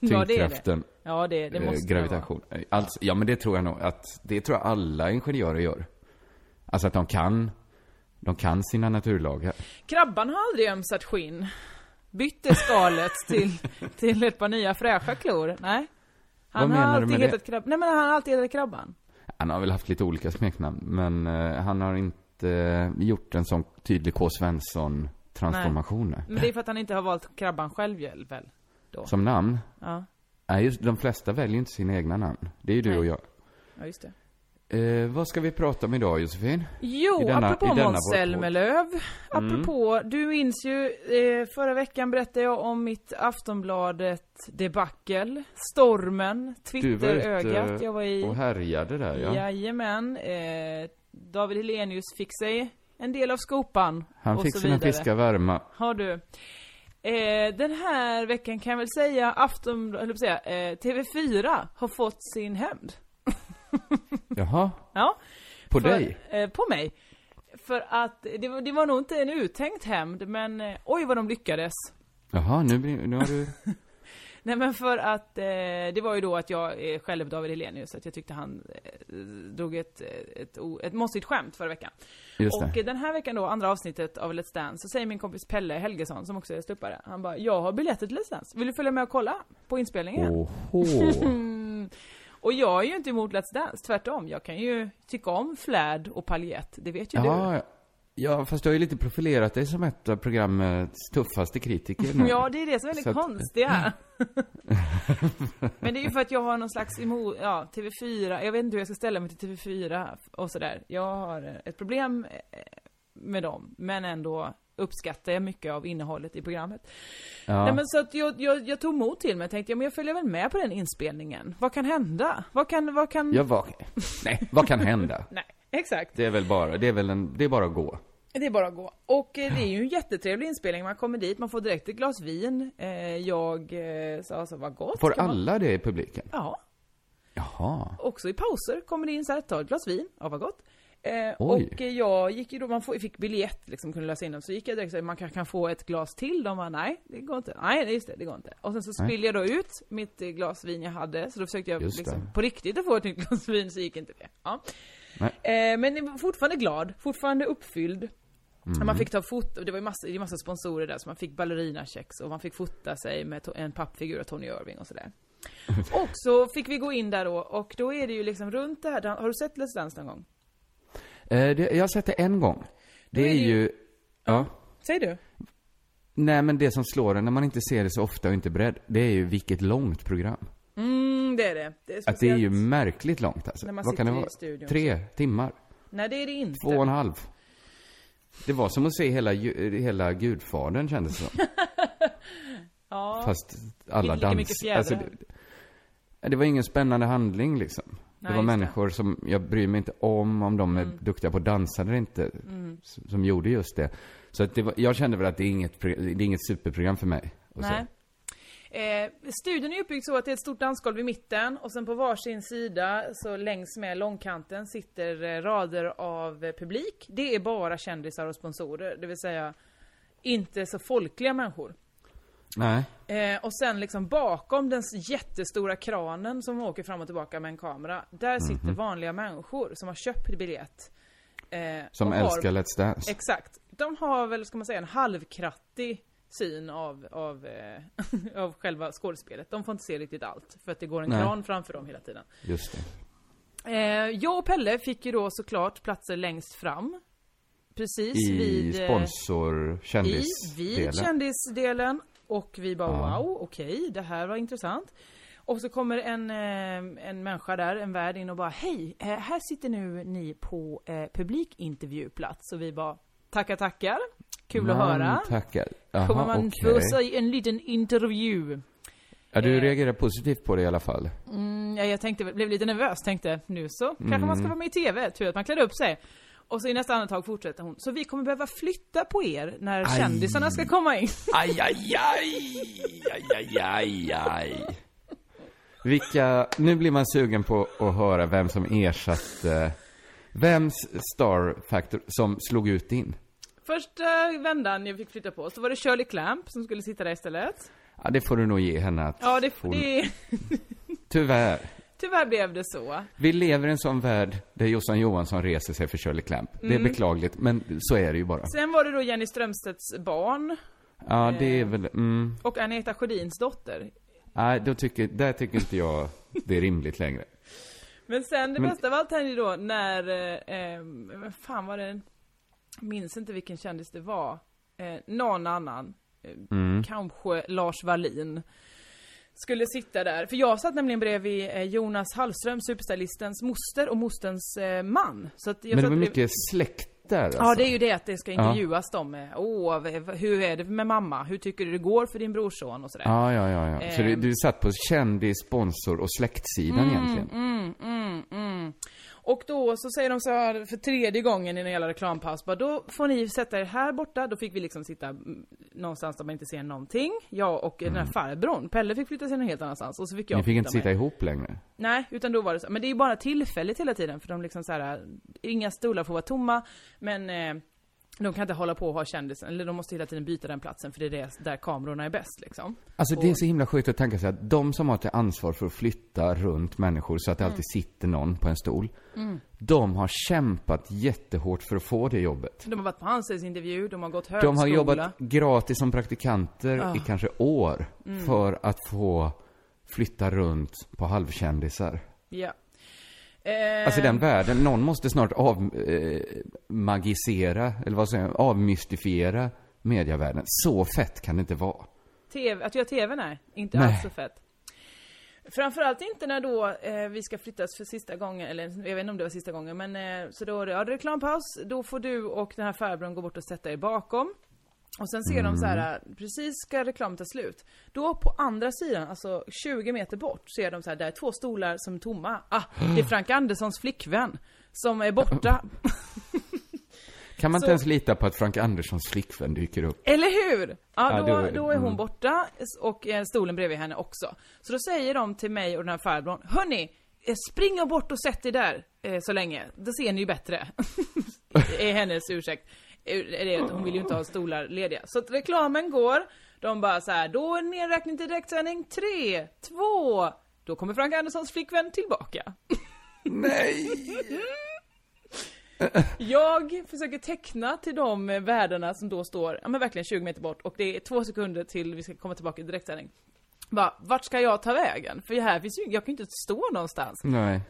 [SPEAKER 3] Ja, det är det.
[SPEAKER 2] Tyngdkraften.
[SPEAKER 3] Ja, det, det
[SPEAKER 2] Eh,
[SPEAKER 3] måste det vara.
[SPEAKER 2] gravitation. Eh, Alltså, ja men det tror jag nog att, det tror jag alla ingenjörer gör. Alltså att de kan, de kan sina naturlagar.
[SPEAKER 3] Krabban har aldrig ömsat skinn. Bytte skalet till, till ett par nya fräscha klor. Nej. Han
[SPEAKER 2] Vad
[SPEAKER 3] har
[SPEAKER 2] menar du
[SPEAKER 3] alltid
[SPEAKER 2] med det?
[SPEAKER 3] hetat krabban. Nej men han har alltid hetat krabban.
[SPEAKER 2] Han har väl haft lite olika smeknamn, men eh, han har inte eh, gjort en sån tydlig K. Svensson-transformation. nej.
[SPEAKER 3] Men det är för att han inte har valt Krabban själv ju, väl? Då.
[SPEAKER 2] Som namn?
[SPEAKER 3] Ja.
[SPEAKER 2] Nej, just de flesta väljer inte sina egna namn. Det är ju du
[SPEAKER 3] Nej.
[SPEAKER 2] och jag.
[SPEAKER 3] ja, just det.
[SPEAKER 2] Eh, vad ska vi prata om idag, Josefin?
[SPEAKER 3] Jo,
[SPEAKER 2] I denna- i
[SPEAKER 3] apropå
[SPEAKER 2] denna
[SPEAKER 3] Måns
[SPEAKER 2] vår podd. Mm.
[SPEAKER 3] Zelmerlöw. Apropå, du minns ju, eh, förra veckan berättade jag om mitt Aftonbladet debacle, stormen,
[SPEAKER 2] Du var ute
[SPEAKER 3] Twitterögat. Jag var i...
[SPEAKER 2] Och härjade där, ja.
[SPEAKER 3] Jajamän. Eh, David Hellenius fick sig en del av skopan.
[SPEAKER 2] Han
[SPEAKER 3] och
[SPEAKER 2] fick
[SPEAKER 3] så
[SPEAKER 2] sina
[SPEAKER 3] vidare.
[SPEAKER 2] fiskar varma.
[SPEAKER 3] Har du. Eh, den här veckan kan jag väl säga, afton, eller säga, eh, TV4 har fått sin hämnd.
[SPEAKER 2] Jaha,
[SPEAKER 3] Ja.
[SPEAKER 2] på
[SPEAKER 3] för,
[SPEAKER 2] dig?
[SPEAKER 3] Eh, på mig. För att det var, det var nog inte en uttänkt hämnd, men eh, oj vad de lyckades.
[SPEAKER 2] Jaha, nu, blir, nu har du...
[SPEAKER 3] Nej men för att eh, det var ju då att jag eh, själv David Hellenius, att jag tyckte han eh, drog ett, eh, ett, o- ett mossigt skämt förra veckan.
[SPEAKER 2] Just
[SPEAKER 3] och
[SPEAKER 2] det.
[SPEAKER 3] eh, den här veckan då, andra avsnittet av Let's Dance, så säger min kompis Pelle Helgesson, som också är ståuppare, han bara 'Jag har biljetter till Let's Dance, vill du följa med och kolla på inspelningen?' Mm.
[SPEAKER 2] Åhå.
[SPEAKER 3] Och jag är ju inte emot Let's Dance, tvärtom. Jag kan ju tycka om flärd och paljett, det vet ju du.
[SPEAKER 2] Jaha, ja. ja, fast du har ju lite profilerat dig som ett av programmets tuffaste kritiker nu.
[SPEAKER 3] Ja, det är det som är
[SPEAKER 2] Så
[SPEAKER 3] det
[SPEAKER 2] att- Mm.
[SPEAKER 3] konstiga. Men det är ju för att jag har någon slags emot, ja, TV4, jag vet inte hur jag ska ställa mig till TV4 och sådär. Jag har eh, ett problem eh, med dem, men ändå uppskattar jag mycket av innehållet i programmet.
[SPEAKER 2] Ja.
[SPEAKER 3] Nej men så att jag, jag, jag tog mod till mig och tänkte, ja men jag följer väl med på den inspelningen. Vad kan hända? Vad kan, vad kan...
[SPEAKER 2] Ja, vad... Nej, vad kan hända?
[SPEAKER 3] Nej, exakt.
[SPEAKER 2] Det är väl bara, det är väl en, det är bara att gå.
[SPEAKER 3] Det är bara att gå. Och eh, det är ju en jättetrevlig inspelning, man kommer dit, man får direkt ett glas vin. Eh, jag eh, sa alltså, vad gott.
[SPEAKER 2] Får
[SPEAKER 3] ska Man...
[SPEAKER 2] alla det i publiken?
[SPEAKER 3] Ja.
[SPEAKER 2] Jaha.
[SPEAKER 3] också i pauser kommer det in så här, ta ett glas vin, ja vad gott. Eh,
[SPEAKER 2] Oj.
[SPEAKER 3] och eh, jag gick ju då, man får, fick biljett liksom, kunde lösa in dem, så gick jag direkt och sa, man kan, kan få ett glas till, de bara nej, det går inte, nej nej, just det, det går inte. Och sen så
[SPEAKER 2] Nej.
[SPEAKER 3] spillde jag då ut mitt eh, glas vin jag hade, så då försökte jag
[SPEAKER 2] Just
[SPEAKER 3] liksom,
[SPEAKER 2] det.
[SPEAKER 3] på riktigt att få ett nytt glas vin, så gick inte det. Ja.
[SPEAKER 2] Nej.
[SPEAKER 3] Eh, men jag var fortfarande glad, fortfarande uppfylld.
[SPEAKER 2] Mm.
[SPEAKER 3] Man fick ta foto, det var ju massa, det är massa sponsorer där, så man fick ballerinakex och man fick fota sig med to- en pappfigur av Tony Irving och sådär. Och så fick vi gå in där då, och då är det ju liksom runt det här, har du sett Let's Dance någon gång?
[SPEAKER 2] Eh, det, jag har sett det en gång. Det
[SPEAKER 3] Då
[SPEAKER 2] är ju... Ja.
[SPEAKER 3] Säg du?
[SPEAKER 2] Nej, men det som slår en när man inte ser det så ofta och inte är beredd, det är ju vilket långt program.
[SPEAKER 3] Mm, det är det. Det är,
[SPEAKER 2] Att det är ju
[SPEAKER 3] speciellt.
[SPEAKER 2] märkligt långt alltså.
[SPEAKER 3] När man
[SPEAKER 2] Vad kan det
[SPEAKER 3] sitter i
[SPEAKER 2] vara?
[SPEAKER 3] studion.
[SPEAKER 2] Tre timmar?
[SPEAKER 3] Nej det är det inte.
[SPEAKER 2] Två och en halv? Det var som att se hela, ju- hela Gudfadern kändes det som.
[SPEAKER 3] Ja.
[SPEAKER 2] Fast alla
[SPEAKER 3] Lika mycket
[SPEAKER 2] dans... alltså,
[SPEAKER 3] fjädrar.
[SPEAKER 2] det, det var ingen spännande handling liksom.
[SPEAKER 3] Nej,
[SPEAKER 2] det var
[SPEAKER 3] just det. Mm.
[SPEAKER 2] människor som jag bryr mig inte om, om de är duktiga på att dansa eller inte, som, som gjorde just det. Så att det var, jag kände väl att det är inget, pro- det är inget superprogram för mig. att
[SPEAKER 3] Nej.
[SPEAKER 2] se.
[SPEAKER 3] Eh, studion är uppbyggd så att det är ett stort dansgolv i mitten och sen på varsin sida, så längs med långkanten, sitter eh, rader av eh, publik. Det är bara kändisar och sponsorer, det vill säga inte så folkliga människor.
[SPEAKER 2] Nej.
[SPEAKER 3] Eh, och sen liksom bakom den s- jättestora kranen som åker fram och tillbaka med en kamera, där
[SPEAKER 2] Mhm.
[SPEAKER 3] sitter vanliga människor som har köpt biljett. eh,
[SPEAKER 2] Som
[SPEAKER 3] och har-
[SPEAKER 2] älskar Let's Dance.
[SPEAKER 3] Exakt. De har väl, ska man säga, en halvkrattig syn av, av, eh, av själva skådespelet. De får inte se riktigt allt, för att det går en
[SPEAKER 2] Nej.
[SPEAKER 3] kran framför dem hela tiden.
[SPEAKER 2] Just det.
[SPEAKER 3] Eh, jag och Pelle fick ju då såklart platser längst fram. Precis
[SPEAKER 2] I
[SPEAKER 3] vid... eh, i vid
[SPEAKER 2] sponsorkändisdelen.
[SPEAKER 3] kändisdelen. Och vi bara
[SPEAKER 2] Ja.
[SPEAKER 3] wow, okej, det här var intressant. Och så kommer en, eh, en människa där, en värd in och bara hej, eh, här sitter nu ni på eh, publikintervjuplats. Och vi bara tackar, tackar. Kul att
[SPEAKER 2] Man
[SPEAKER 3] höra.
[SPEAKER 2] Tackar. Jaha,
[SPEAKER 3] Kommer man
[SPEAKER 2] okej.
[SPEAKER 3] få sig en liten intervju?
[SPEAKER 2] Ja, du reagerar positivt på det i alla fall.
[SPEAKER 3] Mm, ja, jag tänkte, blev lite nervös, tänkte nu så kanske man ska
[SPEAKER 2] Mm.
[SPEAKER 3] vara med i TV, tur att man klädde upp sig. Och så i nästa andetag fortsätter hon, så vi kommer behöva flytta på er när
[SPEAKER 2] Aj.
[SPEAKER 3] kändisarna ska komma in.
[SPEAKER 2] Aj, aj, aj! Aj, aj, aj, aj. Vilka, nu blir man sugen på att höra vem som ersatte, vems star factor som slog ut din?
[SPEAKER 3] Första vändan jag fick flytta på så var det Shirley Clamp som skulle sitta där istället.
[SPEAKER 2] Ja, det får du nog ge henne att
[SPEAKER 3] Ja, det,
[SPEAKER 2] hon-
[SPEAKER 3] det,
[SPEAKER 2] Tyvärr.
[SPEAKER 3] tyvärr blev det så.
[SPEAKER 2] Vi lever i en sån värld där Jossan Johansson reser sig för Shirley Clamp.
[SPEAKER 3] Mm.
[SPEAKER 2] Det är beklagligt, men så är det ju bara.
[SPEAKER 3] Sen var det då Jenny Strömstedts barn
[SPEAKER 2] Ja, det är väl, mm.
[SPEAKER 3] och Agneta Sjödins dotter.
[SPEAKER 2] Nej, då tycker, där tycker inte jag det är rimligt längre.
[SPEAKER 3] Men sen det
[SPEAKER 2] Men-
[SPEAKER 3] bästa av allt hände ju då när, eh, eh, vad fan var det, minns inte vilken kändis det var. Eh, någon annan, eh,
[SPEAKER 2] Mm.
[SPEAKER 3] kanske Lars Wallin. Skulle sitta där, för jag satt nämligen bredvid eh, Jonas Hallström, superstylistens moster och mosterns eh, man. Så att jag
[SPEAKER 2] Men det
[SPEAKER 3] satt
[SPEAKER 2] var
[SPEAKER 3] bredvid-
[SPEAKER 2] mycket släkt där alltså.
[SPEAKER 3] Ja, det är ju det att det ska intervjuas dem. eh, Åh, v- hur är det med mamma? Hur tycker du det går för din brorson och sådär.
[SPEAKER 2] Ja, ja, ja. ja. Så du, du satt på kändis, sponsor och släktsidan egentligen?
[SPEAKER 3] Ehm. Mm, mm, mm. Och då så säger de så här för tredje gången i en hela reklampaus, bara, då får ni sätta er här borta, då fick vi liksom sitta mm, någonstans där man inte ser någonting. Jag och den här farbrorn, Pelle fick flytta sig någon helt annanstans och så fick jag
[SPEAKER 2] Mm. Ni fick inte
[SPEAKER 3] flytta mig.
[SPEAKER 2] sitta ihop längre?
[SPEAKER 3] Nej, utan då var det så. Men det är ju bara tillfälligt hela tiden för de liksom så här, inga stolar får vara tomma, men eh, de kan inte hålla på och ha kändisen, eller de måste hela tiden byta den platsen för det är det, där kamerorna är bäst liksom.
[SPEAKER 2] Alltså det är så himla sjukt att tänka sig att de som har till ansvar för att flytta runt människor så att
[SPEAKER 3] Mm.
[SPEAKER 2] det alltid sitter någon på en stol. De har kämpat jättehårt för att få det jobbet.
[SPEAKER 3] De har varit på anställningsintervju, de har gått högskola.
[SPEAKER 2] De har jobbat gratis som praktikanter i
[SPEAKER 3] Ah.
[SPEAKER 2] kanske år
[SPEAKER 3] Mm.
[SPEAKER 2] för att få flytta runt på halvkändisar.
[SPEAKER 3] Ja. Eh,
[SPEAKER 2] Alltså den världen, någon måste snart avmagisera, eller vad säger jag, avmystifiera mediavärlden. Så fett kan det inte vara.
[SPEAKER 3] TV, att göra TV, nej. Inte
[SPEAKER 2] Nej.
[SPEAKER 3] alls så fett. Framförallt inte när då eh, vi ska flyttas för sista gången, eller jag vet inte om det var sista gången, men eh, så då är det ja, det är reklampaus, då får du och den här farbrorn gå bort och sätta er bakom. Och sen ser de så
[SPEAKER 2] Mm.
[SPEAKER 3] här, eh, precis ska reklamen ta slut. Då på andra sidan, alltså 20 meter bort, ser de så här, där är två stolar som är tomma. Ah, det är Frank Anderssons flickvän som är borta.
[SPEAKER 2] Kan man
[SPEAKER 3] Så-
[SPEAKER 2] inte ens lita på att Frank Anderssons flickvän dyker upp?
[SPEAKER 3] Eller hur? Ja,
[SPEAKER 2] Ja,
[SPEAKER 3] då,
[SPEAKER 2] då-
[SPEAKER 3] då är hon
[SPEAKER 2] mm.
[SPEAKER 3] borta s- och eh, stolen bredvid henne också. Så då säger de till mig och den här farbrorn, hörni, eh, spring och bort och sätt er där eh, så länge, då ser ni ju bättre. är hennes ursäkt. Eh, är det- Hon vill ju inte ha stolar lediga. Så att reklamen går, de bara så här, då är nedräkning till direktsändning, tre, två, då kommer Frank Anderssons flickvän tillbaka. Jag försöker teckna till de eh, världarna som då står, ja men verkligen 20 meter bort och det är två sekunder till vi ska komma tillbaka i direktsändning. Bara, vart ska jag ta vägen? För här finns ju, jag kan ju inte stå någonstans.
[SPEAKER 2] Nej.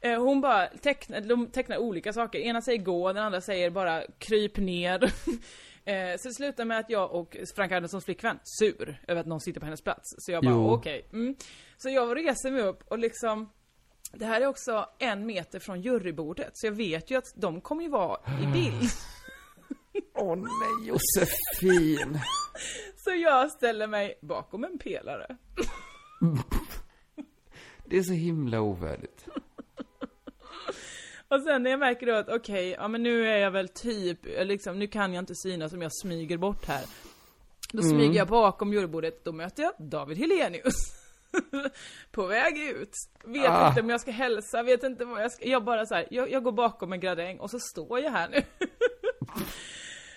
[SPEAKER 3] Eh, Hon bara tecknar, de tecknar olika saker. Ena säger gå, den andra säger bara kryp ner. Eh, Så det slutar med att jag och Frank Anderssons flickvän, sur över att någon sitter på hennes plats. Så jag bara
[SPEAKER 2] Jo.
[SPEAKER 3] okej. Mm. Så jag reser mig upp och liksom det här är också en meter från jurybordet, så jag vet ju att de kommer ju vara i bild.
[SPEAKER 2] Åh nej, Josefin!
[SPEAKER 3] Så jag ställer mig bakom en pelare.
[SPEAKER 2] Det är så himla ovärdigt.
[SPEAKER 3] Och sen när jag märker då att okej, ja men nu är jag väl typ, eh, liksom, nu kan jag inte synas om jag smyger bort här. Då smyger jag bakom jurybordet, då möter jag David Helenius. På väg ut. Vet
[SPEAKER 2] Ah.
[SPEAKER 3] inte om jag ska hälsa, vet inte vad jag ska, jag bara så här, jag, jag går bakom en gradäng och så står jag här nu.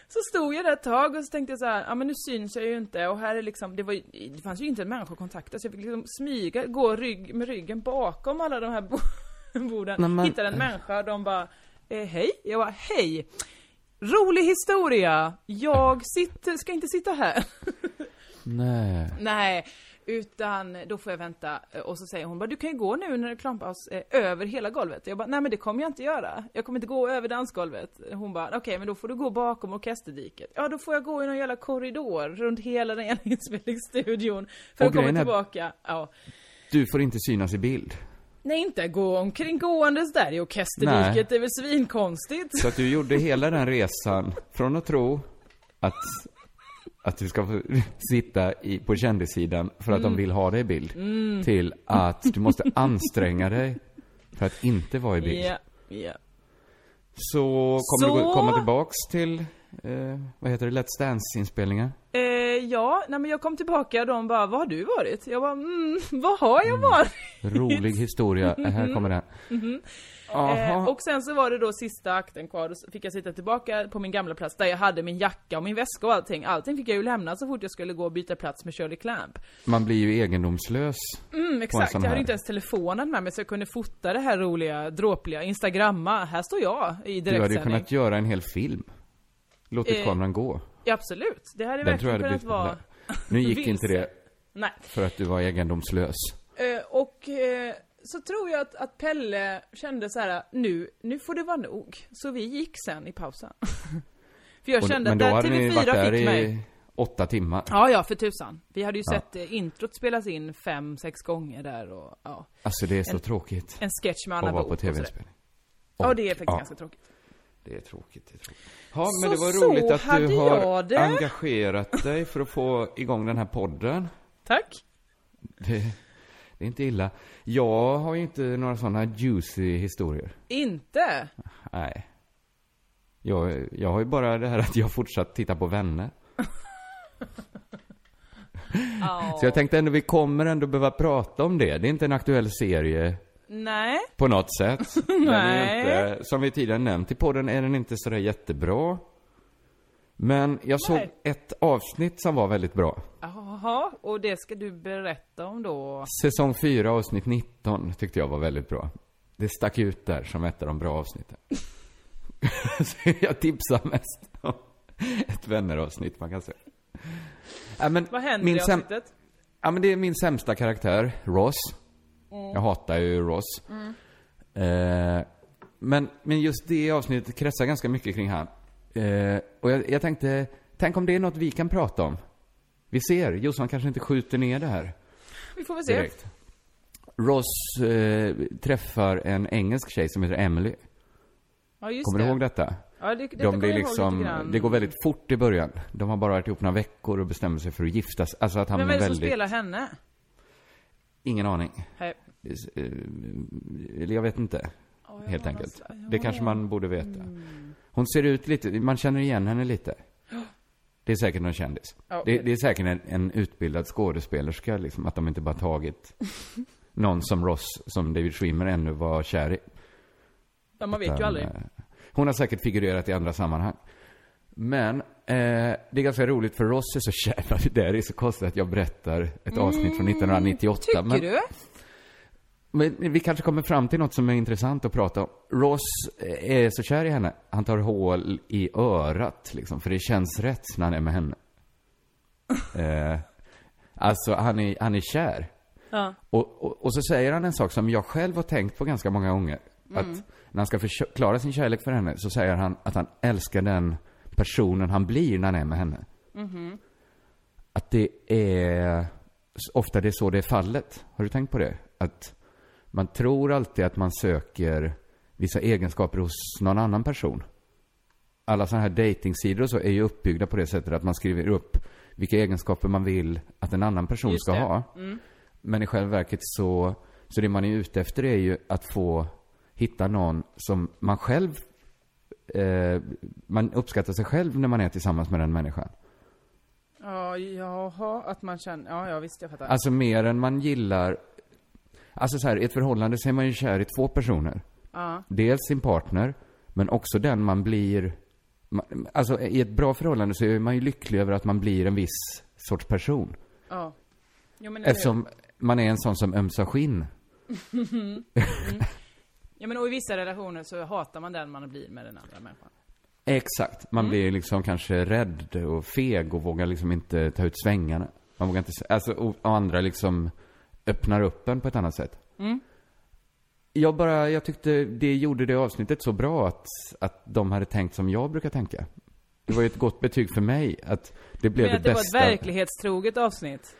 [SPEAKER 3] Så stod jag där ett tag och så tänkte jag så här, ja men nu syns jag ju inte och här är liksom, det, var, ju- det fanns ju inte en människa att kontakta så jag fick liksom smyga, gå rygg, med ryggen bakom alla de här bo- borden.
[SPEAKER 2] Nej, men-
[SPEAKER 3] Hittade en människa och de bara, eh, hej? Jag bara, hej! Rolig historia! Jag sitter, ska inte sitta här.
[SPEAKER 2] Nej.
[SPEAKER 3] Nej, utan då får jag vänta eh, och så säger hon bara du kan ju gå nu när reklampaus är över hela golvet. Jag bara nej men det kommer jag inte göra. Jag kommer inte gå över dansgolvet. Hon bara okej men då får du gå bakom orkesterdiket. Ja då får jag gå i någon jävla korridor runt hela den ena inspelningsstudion för
[SPEAKER 2] Och
[SPEAKER 3] att komma
[SPEAKER 2] grejen är-
[SPEAKER 3] tillbaka. Ja.
[SPEAKER 2] Du får inte synas i bild.
[SPEAKER 3] Nej inte gå omkring gåendes där i orkesterdiket,
[SPEAKER 2] Nej.
[SPEAKER 3] det är väl svinkonstigt.
[SPEAKER 2] Så att du gjorde hela den resan från att tro att, att du ska få sitta i, på kändissidan för att
[SPEAKER 3] Mm.
[SPEAKER 2] de vill ha dig i bild. Till att du måste anstränga dig för att inte vara i bild.
[SPEAKER 3] Ja, ja.
[SPEAKER 2] Så kommer du
[SPEAKER 3] Så-
[SPEAKER 2] gå- komma tillbaks till, eh, vad heter det, Let's Dance-inspelningar?
[SPEAKER 3] Eh, ja, nej men jag kom tillbaka och de bara, vad har du varit? Jag bara, mm, vad har jag varit?
[SPEAKER 2] Rolig historia. Här kommer den. Aha.
[SPEAKER 3] Mm-hmm. Eh, och sen så var det då sista akten kvar, och så fick jag sitta tillbaka på min gamla plats där jag hade min jacka och min väska och allting. Allting fick jag ju lämna så fort jag skulle gå och byta plats med Shirley Clamp.
[SPEAKER 2] Man blir ju egendomslös.
[SPEAKER 3] Mm, exakt,
[SPEAKER 2] sån
[SPEAKER 3] jag hade
[SPEAKER 2] här.
[SPEAKER 3] inte ens telefonen med mig så jag kunde fota det här roliga, dråpliga, instagramma. Här står
[SPEAKER 2] Du
[SPEAKER 3] jag i
[SPEAKER 2] hade ju
[SPEAKER 3] direktsändning.
[SPEAKER 2] kunnat göra en hel film. Låtit
[SPEAKER 3] Eh,
[SPEAKER 2] kameran gå.
[SPEAKER 3] Ja, absolut, det hade
[SPEAKER 2] Den tror jag
[SPEAKER 3] verkligen
[SPEAKER 2] hade
[SPEAKER 3] kunnat
[SPEAKER 2] blivit
[SPEAKER 3] vara...
[SPEAKER 2] populär. Nu gick inte
[SPEAKER 3] vilse.
[SPEAKER 2] det
[SPEAKER 3] Nej.
[SPEAKER 2] för att du var egendomslös.
[SPEAKER 3] Eh, och eh, så tror jag att, att Pelle kände så här, nu, nu får det vara nog. Så vi gick sen i pausen. för jag
[SPEAKER 2] Och-
[SPEAKER 3] kände
[SPEAKER 2] men
[SPEAKER 3] att
[SPEAKER 2] då
[SPEAKER 3] där
[SPEAKER 2] hade ni varit
[SPEAKER 3] TV4
[SPEAKER 2] där
[SPEAKER 3] fick
[SPEAKER 2] i
[SPEAKER 3] mig.
[SPEAKER 2] åtta timmar.
[SPEAKER 3] Ja, ja, för tusan. Vi hade ju
[SPEAKER 2] Ja.
[SPEAKER 3] sett eh, introt spelas in fem, sex gånger där och ja.
[SPEAKER 2] Alltså det är så
[SPEAKER 3] En-
[SPEAKER 2] tråkigt
[SPEAKER 3] En sketch med Anna
[SPEAKER 2] att vara
[SPEAKER 3] Book
[SPEAKER 2] på
[SPEAKER 3] och sådär.
[SPEAKER 2] tv-inspelning.
[SPEAKER 3] Ja,
[SPEAKER 2] Och-
[SPEAKER 3] det är faktiskt
[SPEAKER 2] ja,
[SPEAKER 3] ganska tråkigt.
[SPEAKER 2] Det är tråkigt. Det är tråkigt. Ja, men
[SPEAKER 3] Så-
[SPEAKER 2] det var
[SPEAKER 3] så
[SPEAKER 2] roligt att
[SPEAKER 3] hade
[SPEAKER 2] du har
[SPEAKER 3] jag det.
[SPEAKER 2] engagerat dig för att få igång den här podden.
[SPEAKER 3] Tack.
[SPEAKER 2] Det, det är inte illa. Jag har ju inte några sådana juicy historier.
[SPEAKER 3] Inte?
[SPEAKER 2] Nej. Jag, jag har ju bara det här att jag fortsatt tittar på vänner.
[SPEAKER 3] Ja.
[SPEAKER 2] Så jag tänkte ändå, vi kommer ändå behöva prata om det. Det är inte en aktuell serie
[SPEAKER 3] Nej.
[SPEAKER 2] på något sätt. Den är
[SPEAKER 3] Nej.
[SPEAKER 2] inte, som vi tidigare nämnt i podden är den inte sådär jättebra. Men jag såg
[SPEAKER 3] Nej.
[SPEAKER 2] ett avsnitt som var väldigt bra.
[SPEAKER 3] Jaha, och det ska du berätta om då.
[SPEAKER 2] Säsong 4 avsnitt 19 tyckte jag var väldigt bra. Det stack ut där som ett av de bra avsnitten. Så jag tipsar mest om ett vänneravsnitt man kan säga. Ja, men
[SPEAKER 3] Vad händer
[SPEAKER 2] min
[SPEAKER 3] i
[SPEAKER 2] säm-
[SPEAKER 3] avsnittet?
[SPEAKER 2] Ja men det är min sämsta karaktär, Ross.
[SPEAKER 3] Mm.
[SPEAKER 2] Jag hatar ju Ross. Eh, men, men just det avsnittet kretsar ganska mycket kring han. Eh, och jag, jag tänkte, tänk om det är något vi kan prata om? Vi ser, Jossan kanske inte skjuter ner det här
[SPEAKER 3] Vi får väl se.
[SPEAKER 2] direkt. Ross eh, träffar en engelsk tjej som heter Emily.
[SPEAKER 3] Ja, just
[SPEAKER 2] Kommer
[SPEAKER 3] det.
[SPEAKER 2] du ihåg detta?
[SPEAKER 3] Ja, det, detta
[SPEAKER 2] De
[SPEAKER 3] kommer
[SPEAKER 2] blir
[SPEAKER 3] jag ihåg lite
[SPEAKER 2] liksom,
[SPEAKER 3] grann.
[SPEAKER 2] det går väldigt fort i början. De har bara varit ihop några veckor och bestämmer sig för att gifta sig. Alltså att han
[SPEAKER 3] Vem är
[SPEAKER 2] är
[SPEAKER 3] det
[SPEAKER 2] väldigt,
[SPEAKER 3] som spelar henne?
[SPEAKER 2] ingen aning.
[SPEAKER 3] Hej.
[SPEAKER 2] Eh, Eller jag vet inte.
[SPEAKER 3] jag
[SPEAKER 2] helt
[SPEAKER 3] har
[SPEAKER 2] enkelt.
[SPEAKER 3] någonstans- ja, Mm.
[SPEAKER 2] Det kanske man borde veta. Hon ser ut lite, man känner igen henne lite. Det är säkert någon kändis.
[SPEAKER 3] Ja,
[SPEAKER 2] det,
[SPEAKER 3] okej.
[SPEAKER 2] det är säkert en, en utbildad skådespelerska liksom, att de inte bara tagit någon som Ross, som David Schwimmer ännu var kär i.
[SPEAKER 3] Ja, man vet ju
[SPEAKER 2] Utan,
[SPEAKER 3] aldrig.
[SPEAKER 2] eh, Hon har säkert figurerat i andra sammanhang. Men eh, det är ganska roligt för Ross är så kär, det där är så konstigt att jag berättar ett avsnitt från 1998.
[SPEAKER 3] Mm,
[SPEAKER 2] men,
[SPEAKER 3] Tycker du?
[SPEAKER 2] men vi kanske kommer fram till något som är intressant att prata om. Ross är så kär i henne. Han tar hål i örat, liksom, för det känns rätt när han är med henne. Eh, alltså, han är, han är kär.
[SPEAKER 3] Ja.
[SPEAKER 2] Och, och, och så säger han en sak som jag själv har tänkt på ganska många gånger. Att när han ska förklara sin kärlek för henne så säger han att han älskar den personen han blir när han är med henne. Att det är, ofta det är så det är fallet. Har du tänkt på det? Att man tror alltid att man söker vissa egenskaper hos någon annan person. Alla sådana här datingsidor och så är ju uppbyggda på det sättet att man skriver upp vilka egenskaper man vill att en annan person
[SPEAKER 3] Just
[SPEAKER 2] ska
[SPEAKER 3] det. Mm.
[SPEAKER 2] ha. Men i själva verket så, så det man är ute efter är ju att få hitta någon som man själv, eh, man uppskattar sig själv när man är tillsammans med den människan.
[SPEAKER 3] Ja, jaha, att man känner... Ja, ja visst, jag fattar.
[SPEAKER 2] Alltså mer än man gillar, alltså så här, i ett förhållande så är man ju kär i två personer.
[SPEAKER 3] ja.
[SPEAKER 2] Dels sin partner, men också den man blir, man, alltså i ett bra förhållande så är man ju lycklig över att man blir en viss sorts person.
[SPEAKER 3] ja. Jo, men, Eftersom...
[SPEAKER 2] Eftersom man är en sån som ömsar skinn.
[SPEAKER 3] ja, men och i vissa relationer så hatar man den man blir med den andra människan.
[SPEAKER 2] Exakt.
[SPEAKER 3] Mm.
[SPEAKER 2] Man blir liksom kanske rädd och feg och vågar liksom inte ta ut svängarna. Man vågar inte, s- alltså, och, och andra liksom öppnar upp en på ett annat sätt.
[SPEAKER 3] Mm.
[SPEAKER 2] Jag bara, jag tyckte det gjorde det avsnittet så bra att, att de hade tänkt som jag brukar tänka. Det var ju ett gott betyg för mig att det blev
[SPEAKER 3] Men
[SPEAKER 2] det
[SPEAKER 3] att det
[SPEAKER 2] bästa.
[SPEAKER 3] var ett verklighetstroget avsnitt.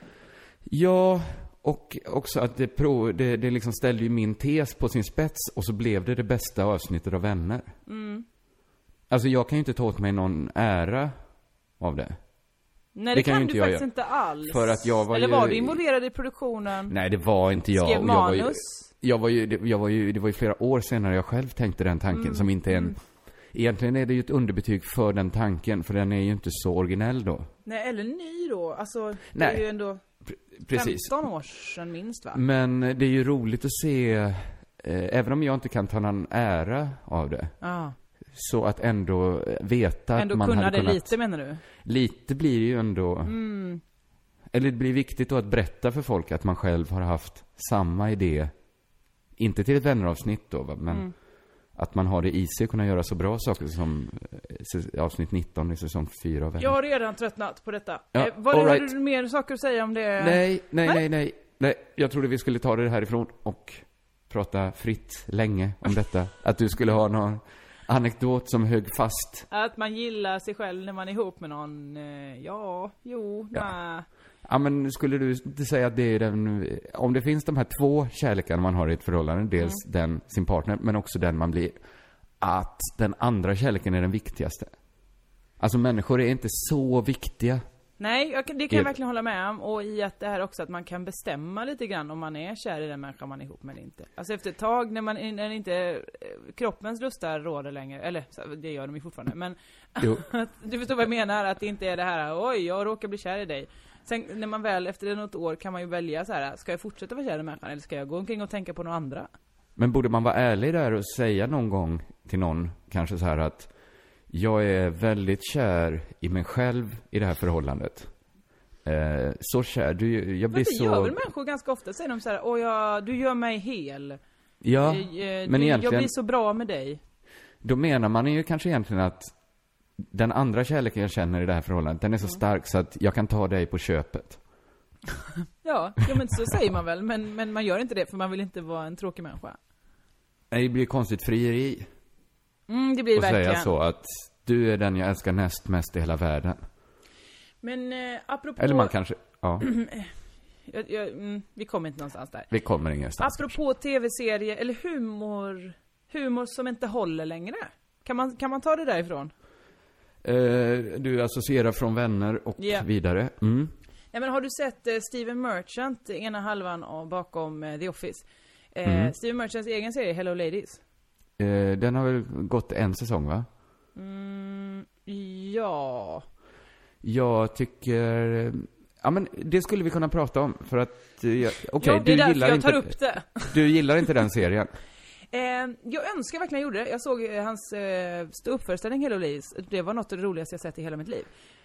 [SPEAKER 2] Ja, och också att det, prov, det, det liksom ställde ju min tes på sin spets och så blev det det bästa avsnittet av Vänner.
[SPEAKER 3] Mm.
[SPEAKER 2] Alltså jag kan ju inte ta åt mig någon ära av det.
[SPEAKER 3] Nej, det,
[SPEAKER 2] Det kan ju
[SPEAKER 3] kan,
[SPEAKER 2] inte
[SPEAKER 3] du
[SPEAKER 2] jag
[SPEAKER 3] faktiskt
[SPEAKER 2] göra.
[SPEAKER 3] inte alls.
[SPEAKER 2] För att jag var
[SPEAKER 3] Eller
[SPEAKER 2] ju-
[SPEAKER 3] var du involverad i produktionen?
[SPEAKER 2] Nej, det var inte jag.
[SPEAKER 3] Skrev
[SPEAKER 2] Och jag var ju,
[SPEAKER 3] manus?
[SPEAKER 2] jag var ju, det, jag var ju, det var ju flera år senare jag själv tänkte den tanken
[SPEAKER 3] Mm,
[SPEAKER 2] som inte är en... Egentligen är det ju ett underbetyg för den tanken, för den är ju inte så originell då.
[SPEAKER 3] Nej, eller ny då. Alltså, det
[SPEAKER 2] Nej.
[SPEAKER 3] är ju ändå
[SPEAKER 2] Precis. Mm.
[SPEAKER 3] 15 år sedan minst va?
[SPEAKER 2] Men det är ju roligt att se, eh, även om jag inte kan ta någon ära av det,
[SPEAKER 3] Ja.
[SPEAKER 2] Så att ändå eh, veta
[SPEAKER 3] Ändå
[SPEAKER 2] att man
[SPEAKER 3] kunna
[SPEAKER 2] hade
[SPEAKER 3] det
[SPEAKER 2] kunnat... Mm.
[SPEAKER 3] lite Mm. menar du?
[SPEAKER 2] Lite blir det ju ändå... Eller det blir viktigt då att berätta för folk att man själv har haft samma idé. Inte till ett vänneravsnitt då, va,
[SPEAKER 3] Mm.
[SPEAKER 2] men att man har det i sig att kunna göra så bra saker som eh, säs- avsnitt 19 i säsong 4 av Vänner.
[SPEAKER 3] Jag har redan tröttnat på detta.
[SPEAKER 2] Ja,
[SPEAKER 3] eh, vad,
[SPEAKER 2] all
[SPEAKER 3] Har
[SPEAKER 2] right.
[SPEAKER 3] du mer saker att säga om det?
[SPEAKER 2] Nej, nej, nej, nej, nej. Jag trodde vi skulle ta det härifrån och prata fritt länge om detta. Att du skulle ha någon anekdot som högg fast.
[SPEAKER 3] Att man gillar sig själv när man är ihop med någon, eh, ja, jo,
[SPEAKER 2] Ja.
[SPEAKER 3] nä.
[SPEAKER 2] Ja, men skulle du inte säga att det är den, om det finns de här två kärlekarna man har i ett förhållande,
[SPEAKER 3] Mm.
[SPEAKER 2] dels den, sin partner, men också den man blir, att den andra kärleken är den viktigaste? Alltså människor är inte så viktiga.
[SPEAKER 3] Nej, jag, kan- det kan jag
[SPEAKER 2] Det-
[SPEAKER 3] verkligen hålla med om. Och i att det här också att man kan bestämma lite grann om man är kär i den människa man är ihop med eller inte. Alltså efter ett tag när man när inte, eh, kroppens lustar råder längre, eller så- det gör de ju fortfarande, men
[SPEAKER 2] Jo.
[SPEAKER 3] att, du förstår vad jag menar, att det inte är det här oj, jag råkar bli kär i dig. Sen när man väl, efter något år kan man ju välja så här, ska jag fortsätta vara kär i människan eller ska jag gå omkring och tänka på några andra?
[SPEAKER 2] Men borde man vara ärlig där och säga någon gång till någon, kanske så här att jag är väldigt kär i mig själv i det här förhållandet. Eh, så kär, du, jag
[SPEAKER 3] Men
[SPEAKER 2] blir
[SPEAKER 3] det gör väl
[SPEAKER 2] så...
[SPEAKER 3] människor ganska ofta, säger de så här, åh jag, du gör mig hel.
[SPEAKER 2] Ja,
[SPEAKER 3] Eh, eh,
[SPEAKER 2] men
[SPEAKER 3] du, Jag
[SPEAKER 2] egentligen,
[SPEAKER 3] blir så bra med dig.
[SPEAKER 2] då menar man ju kanske egentligen att den andra kärleken jag känner i det här förhållandet, den är
[SPEAKER 3] Mm.
[SPEAKER 2] så stark så att jag kan ta dig på köpet.
[SPEAKER 3] Ja, ja men så säger man väl, men, men man gör inte det för man vill inte vara en tråkig människa.
[SPEAKER 2] Nej, Det blir ju konstigt frieri
[SPEAKER 3] Mm, det blir det
[SPEAKER 2] att säga
[SPEAKER 3] verkligen.
[SPEAKER 2] så att du är den jag älskar näst mest i hela världen.
[SPEAKER 3] Men eh, apropå...
[SPEAKER 2] Eller man kanske, ja,
[SPEAKER 3] Mm-hmm. jag, jag, mm, vi kommer inte någonstans där.
[SPEAKER 2] vi kommer ingenstans.
[SPEAKER 3] Apropå tv-serier, eller humor, humor som inte håller längre. Kan man, kan man ta det därifrån?
[SPEAKER 2] Eh, du associerar från vänner och
[SPEAKER 3] Ja.
[SPEAKER 2] vidare. Mm.
[SPEAKER 3] Ja, men har du sett eh, Steven Merchant, ena halvan av, bakom eh, The Office? Eh,
[SPEAKER 2] Mm.
[SPEAKER 3] Steven Merchants egen serie, Hello Ladies.
[SPEAKER 2] Eh, den har väl gått en säsong, va?
[SPEAKER 3] Mm, ja...
[SPEAKER 2] Jag tycker... eh, Ja, men det skulle vi kunna prata om. För att... eh, jag- Okej,
[SPEAKER 3] ja, det
[SPEAKER 2] du,
[SPEAKER 3] är därför
[SPEAKER 2] gillar
[SPEAKER 3] jag
[SPEAKER 2] inte-
[SPEAKER 3] tar upp det.
[SPEAKER 2] du gillar inte den serien.
[SPEAKER 3] Eh, jag önskar verkligen jag gjorde det. Jag såg eh, hans eh, ståuppföreställning Hello Ladies. Det var något av det roligaste jag sett i hela mitt liv.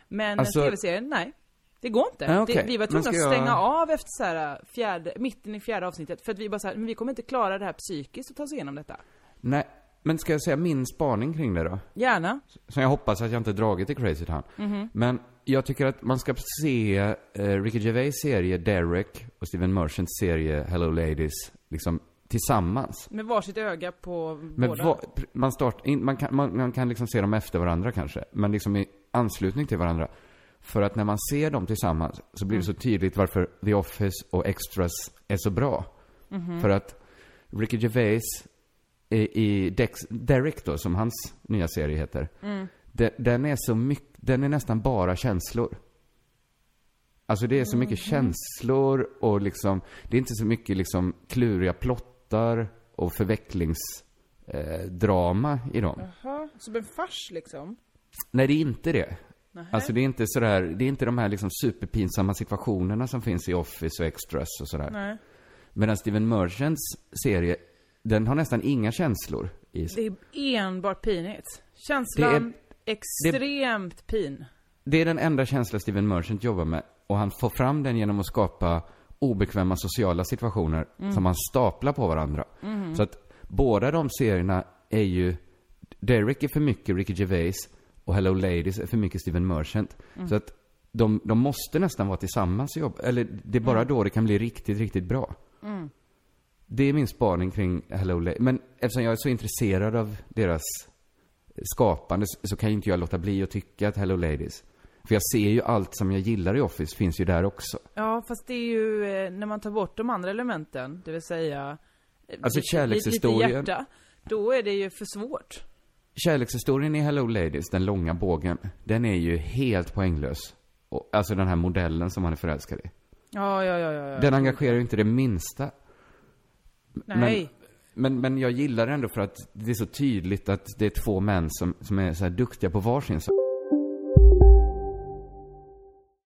[SPEAKER 3] Men eh,
[SPEAKER 2] Alltså-
[SPEAKER 3] tv-serien, nej. Det går inte.
[SPEAKER 2] Nej, okej.
[SPEAKER 3] det, vi var
[SPEAKER 2] Men
[SPEAKER 3] tvungna
[SPEAKER 2] ska
[SPEAKER 3] att
[SPEAKER 2] jag-
[SPEAKER 3] stänga av efter så här, eh, fjärde, mitten i fjärde avsnittet. För att vi bara så här, men vi kommer inte klara det här psykiskt att ta oss igenom detta.
[SPEAKER 2] Nej, men ska jag säga min spaning kring det då?
[SPEAKER 3] Gärna.
[SPEAKER 2] Som jag hoppas att jag inte dragit till Crazy Town. Men jag tycker att man ska se eh, Ricky Gervais serie Derek och Steven Merchants serie Hello Ladies, liksom tillsammans.
[SPEAKER 3] Med varsitt öga på
[SPEAKER 2] Men
[SPEAKER 3] båda.
[SPEAKER 2] vad- pr- man, start, in, man, kan, man, man kan liksom se dem efter varandra kanske, men liksom i anslutning till varandra. För att när man ser dem tillsammans så blir det så tydligt varför The Office och Extras är så bra. För att Ricky Gervais i, i Dex, Derek då, som hans nya serie heter, de, den är så mycket, den är nästan bara känslor. Alltså det är så mycket
[SPEAKER 3] Mm.
[SPEAKER 2] känslor och liksom, det är inte så mycket liksom kluriga plottar och förvecklingsdrama eh, drama i dem.
[SPEAKER 3] Jaha, som en fars liksom.
[SPEAKER 2] Nej, det är inte det. Alltså det är inte sådär, det är inte de här liksom superpinsamma situationerna som finns i Office och Extras och sådär.
[SPEAKER 3] Nej.
[SPEAKER 2] Medan Steven Merchants serie, den har nästan inga känslor i sig.
[SPEAKER 3] Det är enbart pinigt. Känslan, extremt pin.
[SPEAKER 2] Det är den enda känsla Steven Merchant jobbar med. Och han får fram den genom att skapa obekväma sociala situationer som han staplar på varandra. Så att båda de serierna är ju... Derek är för mycket Ricky Gervais och Hello Ladies är för mycket Steven Merchant. Så att de, de måste nästan vara tillsammans i jobb. Eller det är bara då det kan bli riktigt, riktigt bra. Det är min spaning kring Hello Ladies. Men eftersom jag är så intresserad av deras skapande s- så kan ju inte jag låta bli att tycka att Hello Ladies. För jag ser ju allt som jag gillar i Office finns ju där också.
[SPEAKER 3] Ja, fast det är ju eh, när man tar bort de andra elementen, det vill säga... eh,
[SPEAKER 2] Alltså
[SPEAKER 3] lite-
[SPEAKER 2] kärlekshistorien.
[SPEAKER 3] Lite hjärta, då är det ju för svårt.
[SPEAKER 2] Kärlekshistorien i Hello Ladies, den långa bågen, den är ju helt poänglös. Och, alltså den här modellen som han är förälskad i.
[SPEAKER 3] Ja, ja, ja, ja. ja.
[SPEAKER 2] Den engagerar ju inte det minsta.
[SPEAKER 3] Nej.
[SPEAKER 2] Men, men jag gillar det ändå för att det är så tydligt att det är två män som, som är så här duktiga på varsin sak.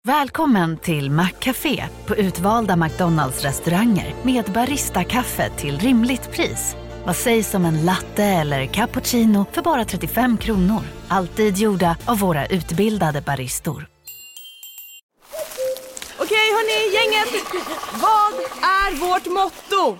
[SPEAKER 4] Välkommen till Maccafé på utvalda McDonalds restauranger med Baristakaffe till rimligt pris. Vad sägs om en latte eller cappuccino för bara 35 kronor? Alltid gjorda av våra utbildade baristor.
[SPEAKER 3] Okej, hörni, gänget! Vad är vårt motto?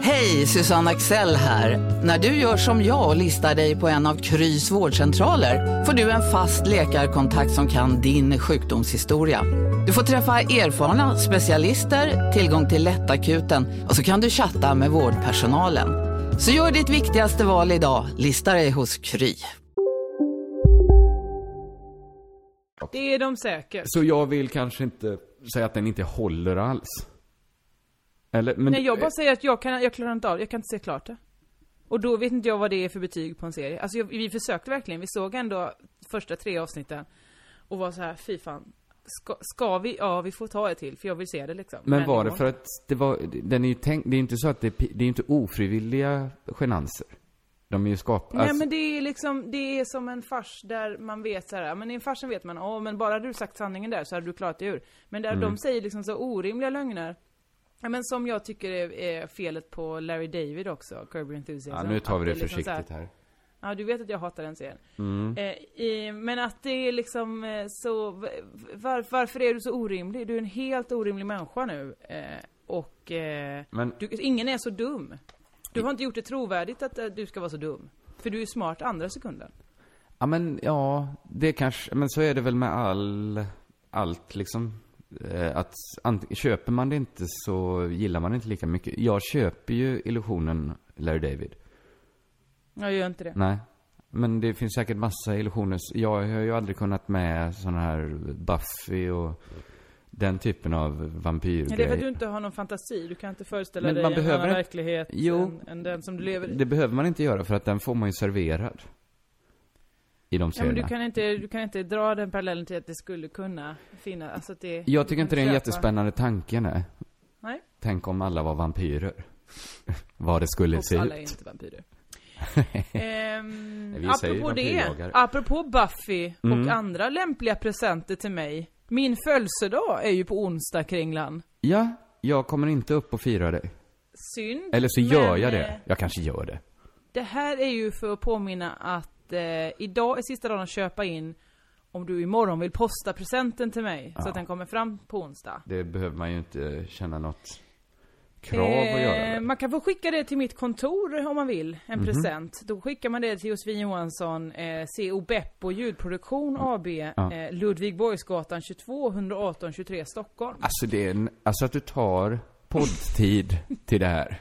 [SPEAKER 5] Hej, Susanne Axel här. När du gör som jag och listar dig på en av Krys vårdcentraler får du en fast läkarkontakt som kan din sjukdomshistoria. Du får träffa erfarna specialister, tillgång till lättakuten och så kan du chatta med vårdpersonalen. Så gör ditt viktigaste val idag, listar dig hos Kry.
[SPEAKER 3] Det är de säkert.
[SPEAKER 2] Så jag vill kanske inte säga att den inte håller alls. Eller? Men
[SPEAKER 3] Nej, jag bara säger att jag, kan, jag klarar inte av det. Jag kan inte se klart det. Och då vet inte jag vad det är för betyg på en serie. Alltså jag, vi försökte verkligen. Vi såg ändå första tre avsnitten. Och var så här, fy fan. Ska, ska vi? Ja, vi får ta ett till. För jag vill se det liksom.
[SPEAKER 2] Men var det
[SPEAKER 3] går
[SPEAKER 2] för att det var, den är ju tänkt, det är ju inte så att det, är pi- det är ju inte ofrivilliga genanser. De är ju alltså- skapade.
[SPEAKER 3] Nej men det är liksom, det är som en fars där man vet så här, ja, men i en farsen vet man, åh men bara du sagt sanningen där så hade du klarat dig ur. Men där
[SPEAKER 2] Mm.
[SPEAKER 3] de säger liksom så orimliga lögner. Ja men som jag tycker är, är felet på Larry David också, Curb Your Enthusiasm.
[SPEAKER 2] ja, nu tar vi
[SPEAKER 3] Att
[SPEAKER 2] det
[SPEAKER 3] är liksom så
[SPEAKER 2] försiktigt här. Mm.
[SPEAKER 3] Ja, du vet att jag hatar den serien. Eh, i, men att det är liksom eh, så, v- var, varför är du så orimlig? Du är en helt orimlig människa nu. Eh, och eh,
[SPEAKER 2] Men-
[SPEAKER 3] du, ingen är så dum. Du har inte gjort det trovärdigt att eh, du ska vara så dum. För du är smart andra sekunden.
[SPEAKER 2] Ja men ja, det kanske, men så är det väl med all, allt liksom. Eh, Att ant- köper man det inte så gillar man det inte lika mycket. Jag köper ju illusionen Larry David.
[SPEAKER 3] Jag gör inte det.
[SPEAKER 2] Nej. Men det finns säkert massa illusioner. Jag har ju aldrig kunnat med sådana här Buffy och den typen av
[SPEAKER 3] Ja, det är för att du
[SPEAKER 2] vampyrgrejer.
[SPEAKER 3] inte har någon fantasi. Du kan inte föreställa
[SPEAKER 2] Men
[SPEAKER 3] dig
[SPEAKER 2] man
[SPEAKER 3] en
[SPEAKER 2] behöver
[SPEAKER 3] annan
[SPEAKER 2] inte-
[SPEAKER 3] verklighet
[SPEAKER 2] Jo.
[SPEAKER 3] än, än den som du lever i.
[SPEAKER 2] Det behöver man inte göra för att den får man ju serverad. I de
[SPEAKER 3] Ja, men du
[SPEAKER 2] serierna.
[SPEAKER 3] kan, inte, du kan inte dra den parallellen till att det skulle kunna finnas, alltså att det...
[SPEAKER 2] Jag tycker
[SPEAKER 3] du
[SPEAKER 2] inte det
[SPEAKER 3] kan
[SPEAKER 2] är en
[SPEAKER 3] köpa-
[SPEAKER 2] jättespännande tanke, nej.
[SPEAKER 3] Nej.
[SPEAKER 2] Tänk om alla var vampyrer. Vad det skulle
[SPEAKER 3] Och
[SPEAKER 2] se
[SPEAKER 3] alla är
[SPEAKER 2] ut.
[SPEAKER 3] inte vampyrer.
[SPEAKER 2] Nej,
[SPEAKER 3] Ehm,
[SPEAKER 2] vi säger Mm.
[SPEAKER 3] apropå det,
[SPEAKER 2] vampyrjagare.
[SPEAKER 3] apropå Buffy och andra lämpliga presenter till mig. Min födelsedag är ju på onsdag, Kringlan.
[SPEAKER 2] Ja, jag kommer inte upp och fira dig.
[SPEAKER 3] Synd.
[SPEAKER 2] Eller så gör
[SPEAKER 3] men,
[SPEAKER 2] jag
[SPEAKER 3] eh,
[SPEAKER 2] det. Jag kanske gör det.
[SPEAKER 3] Det här är ju för att påminna att eh, idag är sista dagen att köpa in om du imorgon vill posta presenten till mig så att den kommer fram på onsdag.
[SPEAKER 2] Det behöver man ju inte känna något krav att göra. Mhm.
[SPEAKER 3] Eh,
[SPEAKER 2] med.
[SPEAKER 3] man kan få skicka det till mitt kontor om man vill, en present. Då skickar man det till Josefin Johansson, eh, CO Beppo ljudproduktion AB, eh, Ludvig Borgsgatan 22, 118 23 Stockholm.
[SPEAKER 2] Alltså det är en, alltså att du tar poddtid till det här.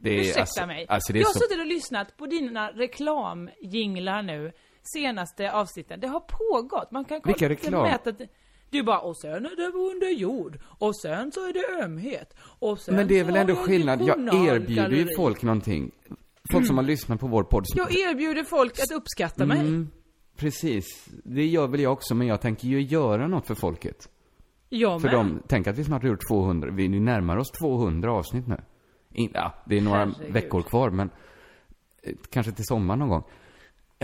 [SPEAKER 2] Det är,
[SPEAKER 3] Ursäkta
[SPEAKER 2] alltså,
[SPEAKER 3] mig.
[SPEAKER 2] Alltså det är
[SPEAKER 3] jag har
[SPEAKER 2] så,
[SPEAKER 3] suttit och lyssnat på dina reklamjinglar nu, senaste avsnitten. Det har pågått. Man kan kolla-
[SPEAKER 2] Vilka reklam?
[SPEAKER 3] mäta det. Du bara, och sen är det under jord, och sen så är det ömhet, och sen
[SPEAKER 2] men det är
[SPEAKER 3] så
[SPEAKER 2] väl
[SPEAKER 3] har
[SPEAKER 2] ändå
[SPEAKER 3] vi
[SPEAKER 2] skillnad. Jag erbjuder ju
[SPEAKER 3] journalkalori.
[SPEAKER 2] folk någonting. Folk som har
[SPEAKER 3] Mm.
[SPEAKER 2] lyssnat på vår podd. som-
[SPEAKER 3] Jag erbjuder folk att uppskatta mig.
[SPEAKER 2] Mm. Precis. Det gör väl jag också, men jag tänker ju göra något för folket.
[SPEAKER 3] Jag
[SPEAKER 2] För
[SPEAKER 3] med.
[SPEAKER 2] dem, tänk att vi snart har gjort 200, vi närmar oss 200 avsnitt nu. In, ja, det är några
[SPEAKER 3] Herregud.
[SPEAKER 2] veckor kvar, men eh, kanske till sommaren någon gång.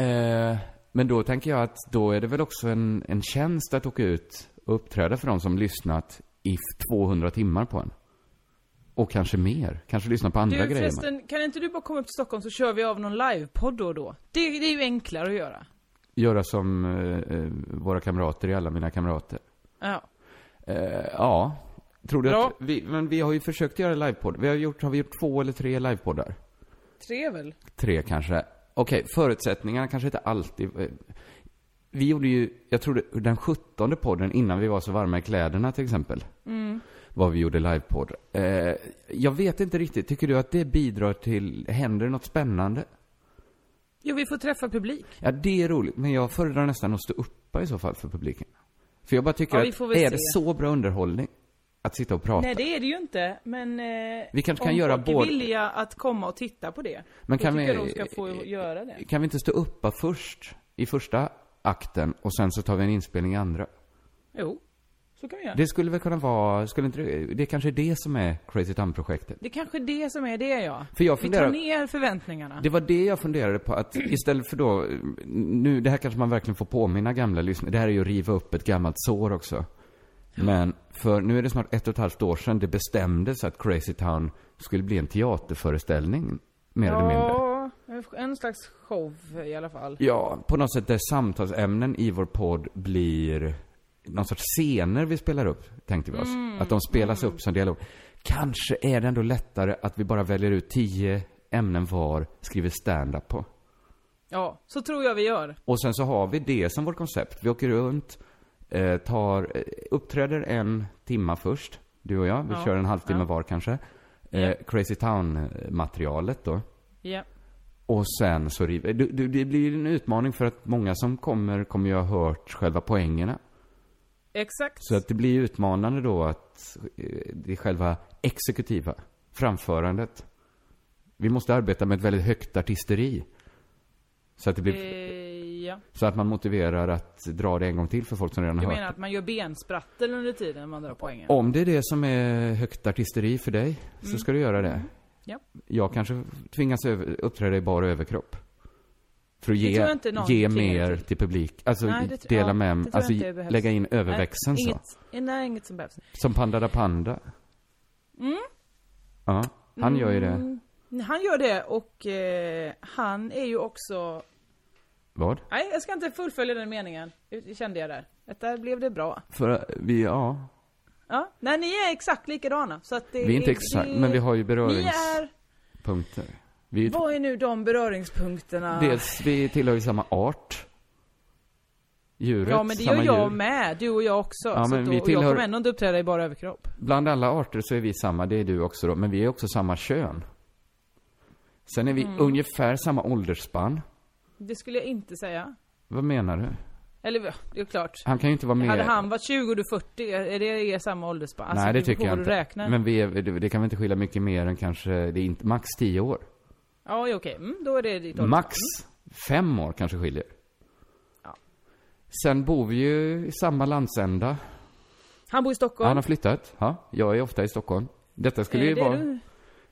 [SPEAKER 2] Eh, men då tänker jag att då är det väl också en, en tjänst att åka ut och uppträda för de som lyssnat i 200 timmar på en. Och kanske mer. Kanske lyssna på andra
[SPEAKER 3] Du
[SPEAKER 2] grejer. med.
[SPEAKER 3] förresten, kan inte du bara komma upp till Stockholm så kör vi av någon livepodd då och då? Det, det är ju enklare att göra.
[SPEAKER 2] Göra som eh, eh, våra kamrater i Alla Mina Kamrater.
[SPEAKER 3] Ja.
[SPEAKER 2] Eh, ja. Tror du
[SPEAKER 3] Bra.
[SPEAKER 2] att vi, men vi har ju försökt göra livepodd. Vi har gjort, har vi gjort två eller tre livepoddar?
[SPEAKER 3] Tre väl?
[SPEAKER 2] Tre kanske. Okej, förutsättningarna kanske inte alltid... eh, Vi gjorde ju, jag tror det, den sjuttonde podden innan vi var så varma i kläderna till exempel. Vad vi gjorde livepodd. Eh, jag vet inte riktigt, tycker du att det bidrar till, händer det något spännande?
[SPEAKER 3] Jo, vi får träffa publik.
[SPEAKER 2] Ja, det är roligt, men jag föredrar nästan att stå uppa i så fall för publiken. För jag bara tycker
[SPEAKER 3] Ja, vi
[SPEAKER 2] att,
[SPEAKER 3] får
[SPEAKER 2] är
[SPEAKER 3] väl
[SPEAKER 2] det
[SPEAKER 3] se.
[SPEAKER 2] så bra underhållning? Att sitta och prata?
[SPEAKER 3] Nej, det är det ju inte, men... Eh,
[SPEAKER 2] Vi kanske
[SPEAKER 3] om
[SPEAKER 2] kan göra
[SPEAKER 3] folk är
[SPEAKER 2] båda.
[SPEAKER 3] villiga att komma och titta på det.
[SPEAKER 2] Men
[SPEAKER 3] då
[SPEAKER 2] kan
[SPEAKER 3] tycker
[SPEAKER 2] vi- eh,
[SPEAKER 3] jag de ska få göra det.
[SPEAKER 2] Kan vi inte stå uppa först, i första akten, och sen så tar vi en inspelning i andra?
[SPEAKER 3] Jo, så kan vi göra. Det,
[SPEAKER 2] Det skulle väl kunna vara, skulle inte det, det kanske är det som är Crazy Town-projektet.
[SPEAKER 3] är kanske är det som är det, ja.
[SPEAKER 2] För jag funderar-
[SPEAKER 3] Vi tar ner förväntningarna.
[SPEAKER 2] Det var det jag funderade på, att istället för då, nu, det här kanske man verkligen får påminna gamla lyssnare, det här är ju att riva upp ett gammalt sår också. Men, för nu är det snart ett och ett halvt år sedan det bestämdes att Crazy Town skulle bli en teaterföreställning, mer eller mindre.
[SPEAKER 3] ja, en slags show i alla fall.
[SPEAKER 2] Ja, på något sätt där samtalsämnen i vår podd blir någon sorts scener vi spelar upp, tänkte vi oss. Att de spelas upp som dialog. Kanske är det ändå lättare att vi bara väljer ut tio ämnen var, skriver stand-up på.
[SPEAKER 3] Ja, så tror jag vi gör.
[SPEAKER 2] Och sen så har vi det som vårt koncept. Vi åker runt, eh, tar, eh, uppträder en timma först, du och jag. Vi
[SPEAKER 3] Ja.
[SPEAKER 2] kör en halvtimme
[SPEAKER 3] Ja.
[SPEAKER 2] var kanske. Eh,
[SPEAKER 3] Ja.
[SPEAKER 2] Crazy Town-materialet då.
[SPEAKER 3] Ja.
[SPEAKER 2] Och sen så river... du- du- Det blir en utmaning för att många som kommer, kommer ju ha hört själva poängerna.
[SPEAKER 3] Exakt.
[SPEAKER 2] Så att det blir utmanande då att eh, det är själva exekutiva framförandet. Vi måste arbeta med ett väldigt högt artisteri. Så att, det blir,
[SPEAKER 3] Eh, ja.
[SPEAKER 2] så att man motiverar att dra det en gång till för folk som redan
[SPEAKER 3] Du
[SPEAKER 2] har hört.
[SPEAKER 3] menar att man gör bensprattel under tiden man drar poängen?
[SPEAKER 2] Om det är det som är högt artisteri för dig, så ska du göra det.
[SPEAKER 3] Mm. Ja.
[SPEAKER 2] Jag kanske tvingas över, uppträda i bara överkropp. För att
[SPEAKER 3] Det tror jag
[SPEAKER 2] ge,
[SPEAKER 3] inte någon
[SPEAKER 2] ge
[SPEAKER 3] tvingar dig
[SPEAKER 2] mer
[SPEAKER 3] till.
[SPEAKER 2] till publik. Alltså
[SPEAKER 3] Nej, det tr-
[SPEAKER 2] dela
[SPEAKER 3] ja,
[SPEAKER 2] med
[SPEAKER 3] det
[SPEAKER 2] mig.
[SPEAKER 3] tror jag
[SPEAKER 2] Alltså
[SPEAKER 3] inte behövs.
[SPEAKER 2] lägga in överväxeln
[SPEAKER 3] Nej,
[SPEAKER 2] så.
[SPEAKER 3] inget, nej, inget som behövs.
[SPEAKER 2] Som Panda da Panda. Ja, han gör ju det.
[SPEAKER 3] Mm, han gör det och eh, han är ju också...
[SPEAKER 2] Vad?
[SPEAKER 3] Nej, jag ska inte fullfölja den meningen. Det kände jag där. Att där blev det bra.
[SPEAKER 2] För eh, vi, ja.
[SPEAKER 3] Ja. Nej, ni är exakt likadana. Så att det,
[SPEAKER 2] Vi är inte
[SPEAKER 3] det-
[SPEAKER 2] exakt, men vi har ju
[SPEAKER 3] Ni
[SPEAKER 2] beröringspunkter.
[SPEAKER 3] är...
[SPEAKER 2] Vi,
[SPEAKER 3] Vad är nu de beröringspunkterna?
[SPEAKER 2] dels, vi tillhör ju samma art. Djuret,
[SPEAKER 3] ja, men det gör
[SPEAKER 2] samma
[SPEAKER 3] jag
[SPEAKER 2] djur.
[SPEAKER 3] med. Du och jag också.
[SPEAKER 2] Ja,
[SPEAKER 3] så
[SPEAKER 2] men
[SPEAKER 3] att då,
[SPEAKER 2] vi
[SPEAKER 3] och
[SPEAKER 2] tillhör-
[SPEAKER 3] Jag kommer ändå inte uppträda i bara överkropp.
[SPEAKER 2] Bland alla arter så är vi samma, det är du också då, men vi är också samma kön. Sen är vi
[SPEAKER 3] Mm.
[SPEAKER 2] ungefär samma åldersspann.
[SPEAKER 3] Det skulle jag inte säga.
[SPEAKER 2] Vad menar du?
[SPEAKER 3] Eller ja, det är klart.
[SPEAKER 2] Han kan ju inte vara med.
[SPEAKER 3] Hade han varit 20 och du 40, är det er samma åldersspann? Alltså,
[SPEAKER 2] Nej, det
[SPEAKER 3] det
[SPEAKER 2] tycker jag
[SPEAKER 3] går att
[SPEAKER 2] inte.
[SPEAKER 3] Räkna.
[SPEAKER 2] Men vi är, det, det kan väl inte skilja mycket mer än kanske, det är inte, max 10 år.
[SPEAKER 3] Ja, ja, okej. Mm, då är det ditt Mm. åldersspann.
[SPEAKER 2] Max fem år kanske skiljer.
[SPEAKER 3] Ja.
[SPEAKER 2] Sen bor vi ju i samma landsända.
[SPEAKER 3] Han bor i Stockholm.
[SPEAKER 2] Han har flyttat. Ja, jag är ofta i Stockholm. Detta skulle
[SPEAKER 3] Eh,
[SPEAKER 2] ju
[SPEAKER 3] det är
[SPEAKER 2] vara,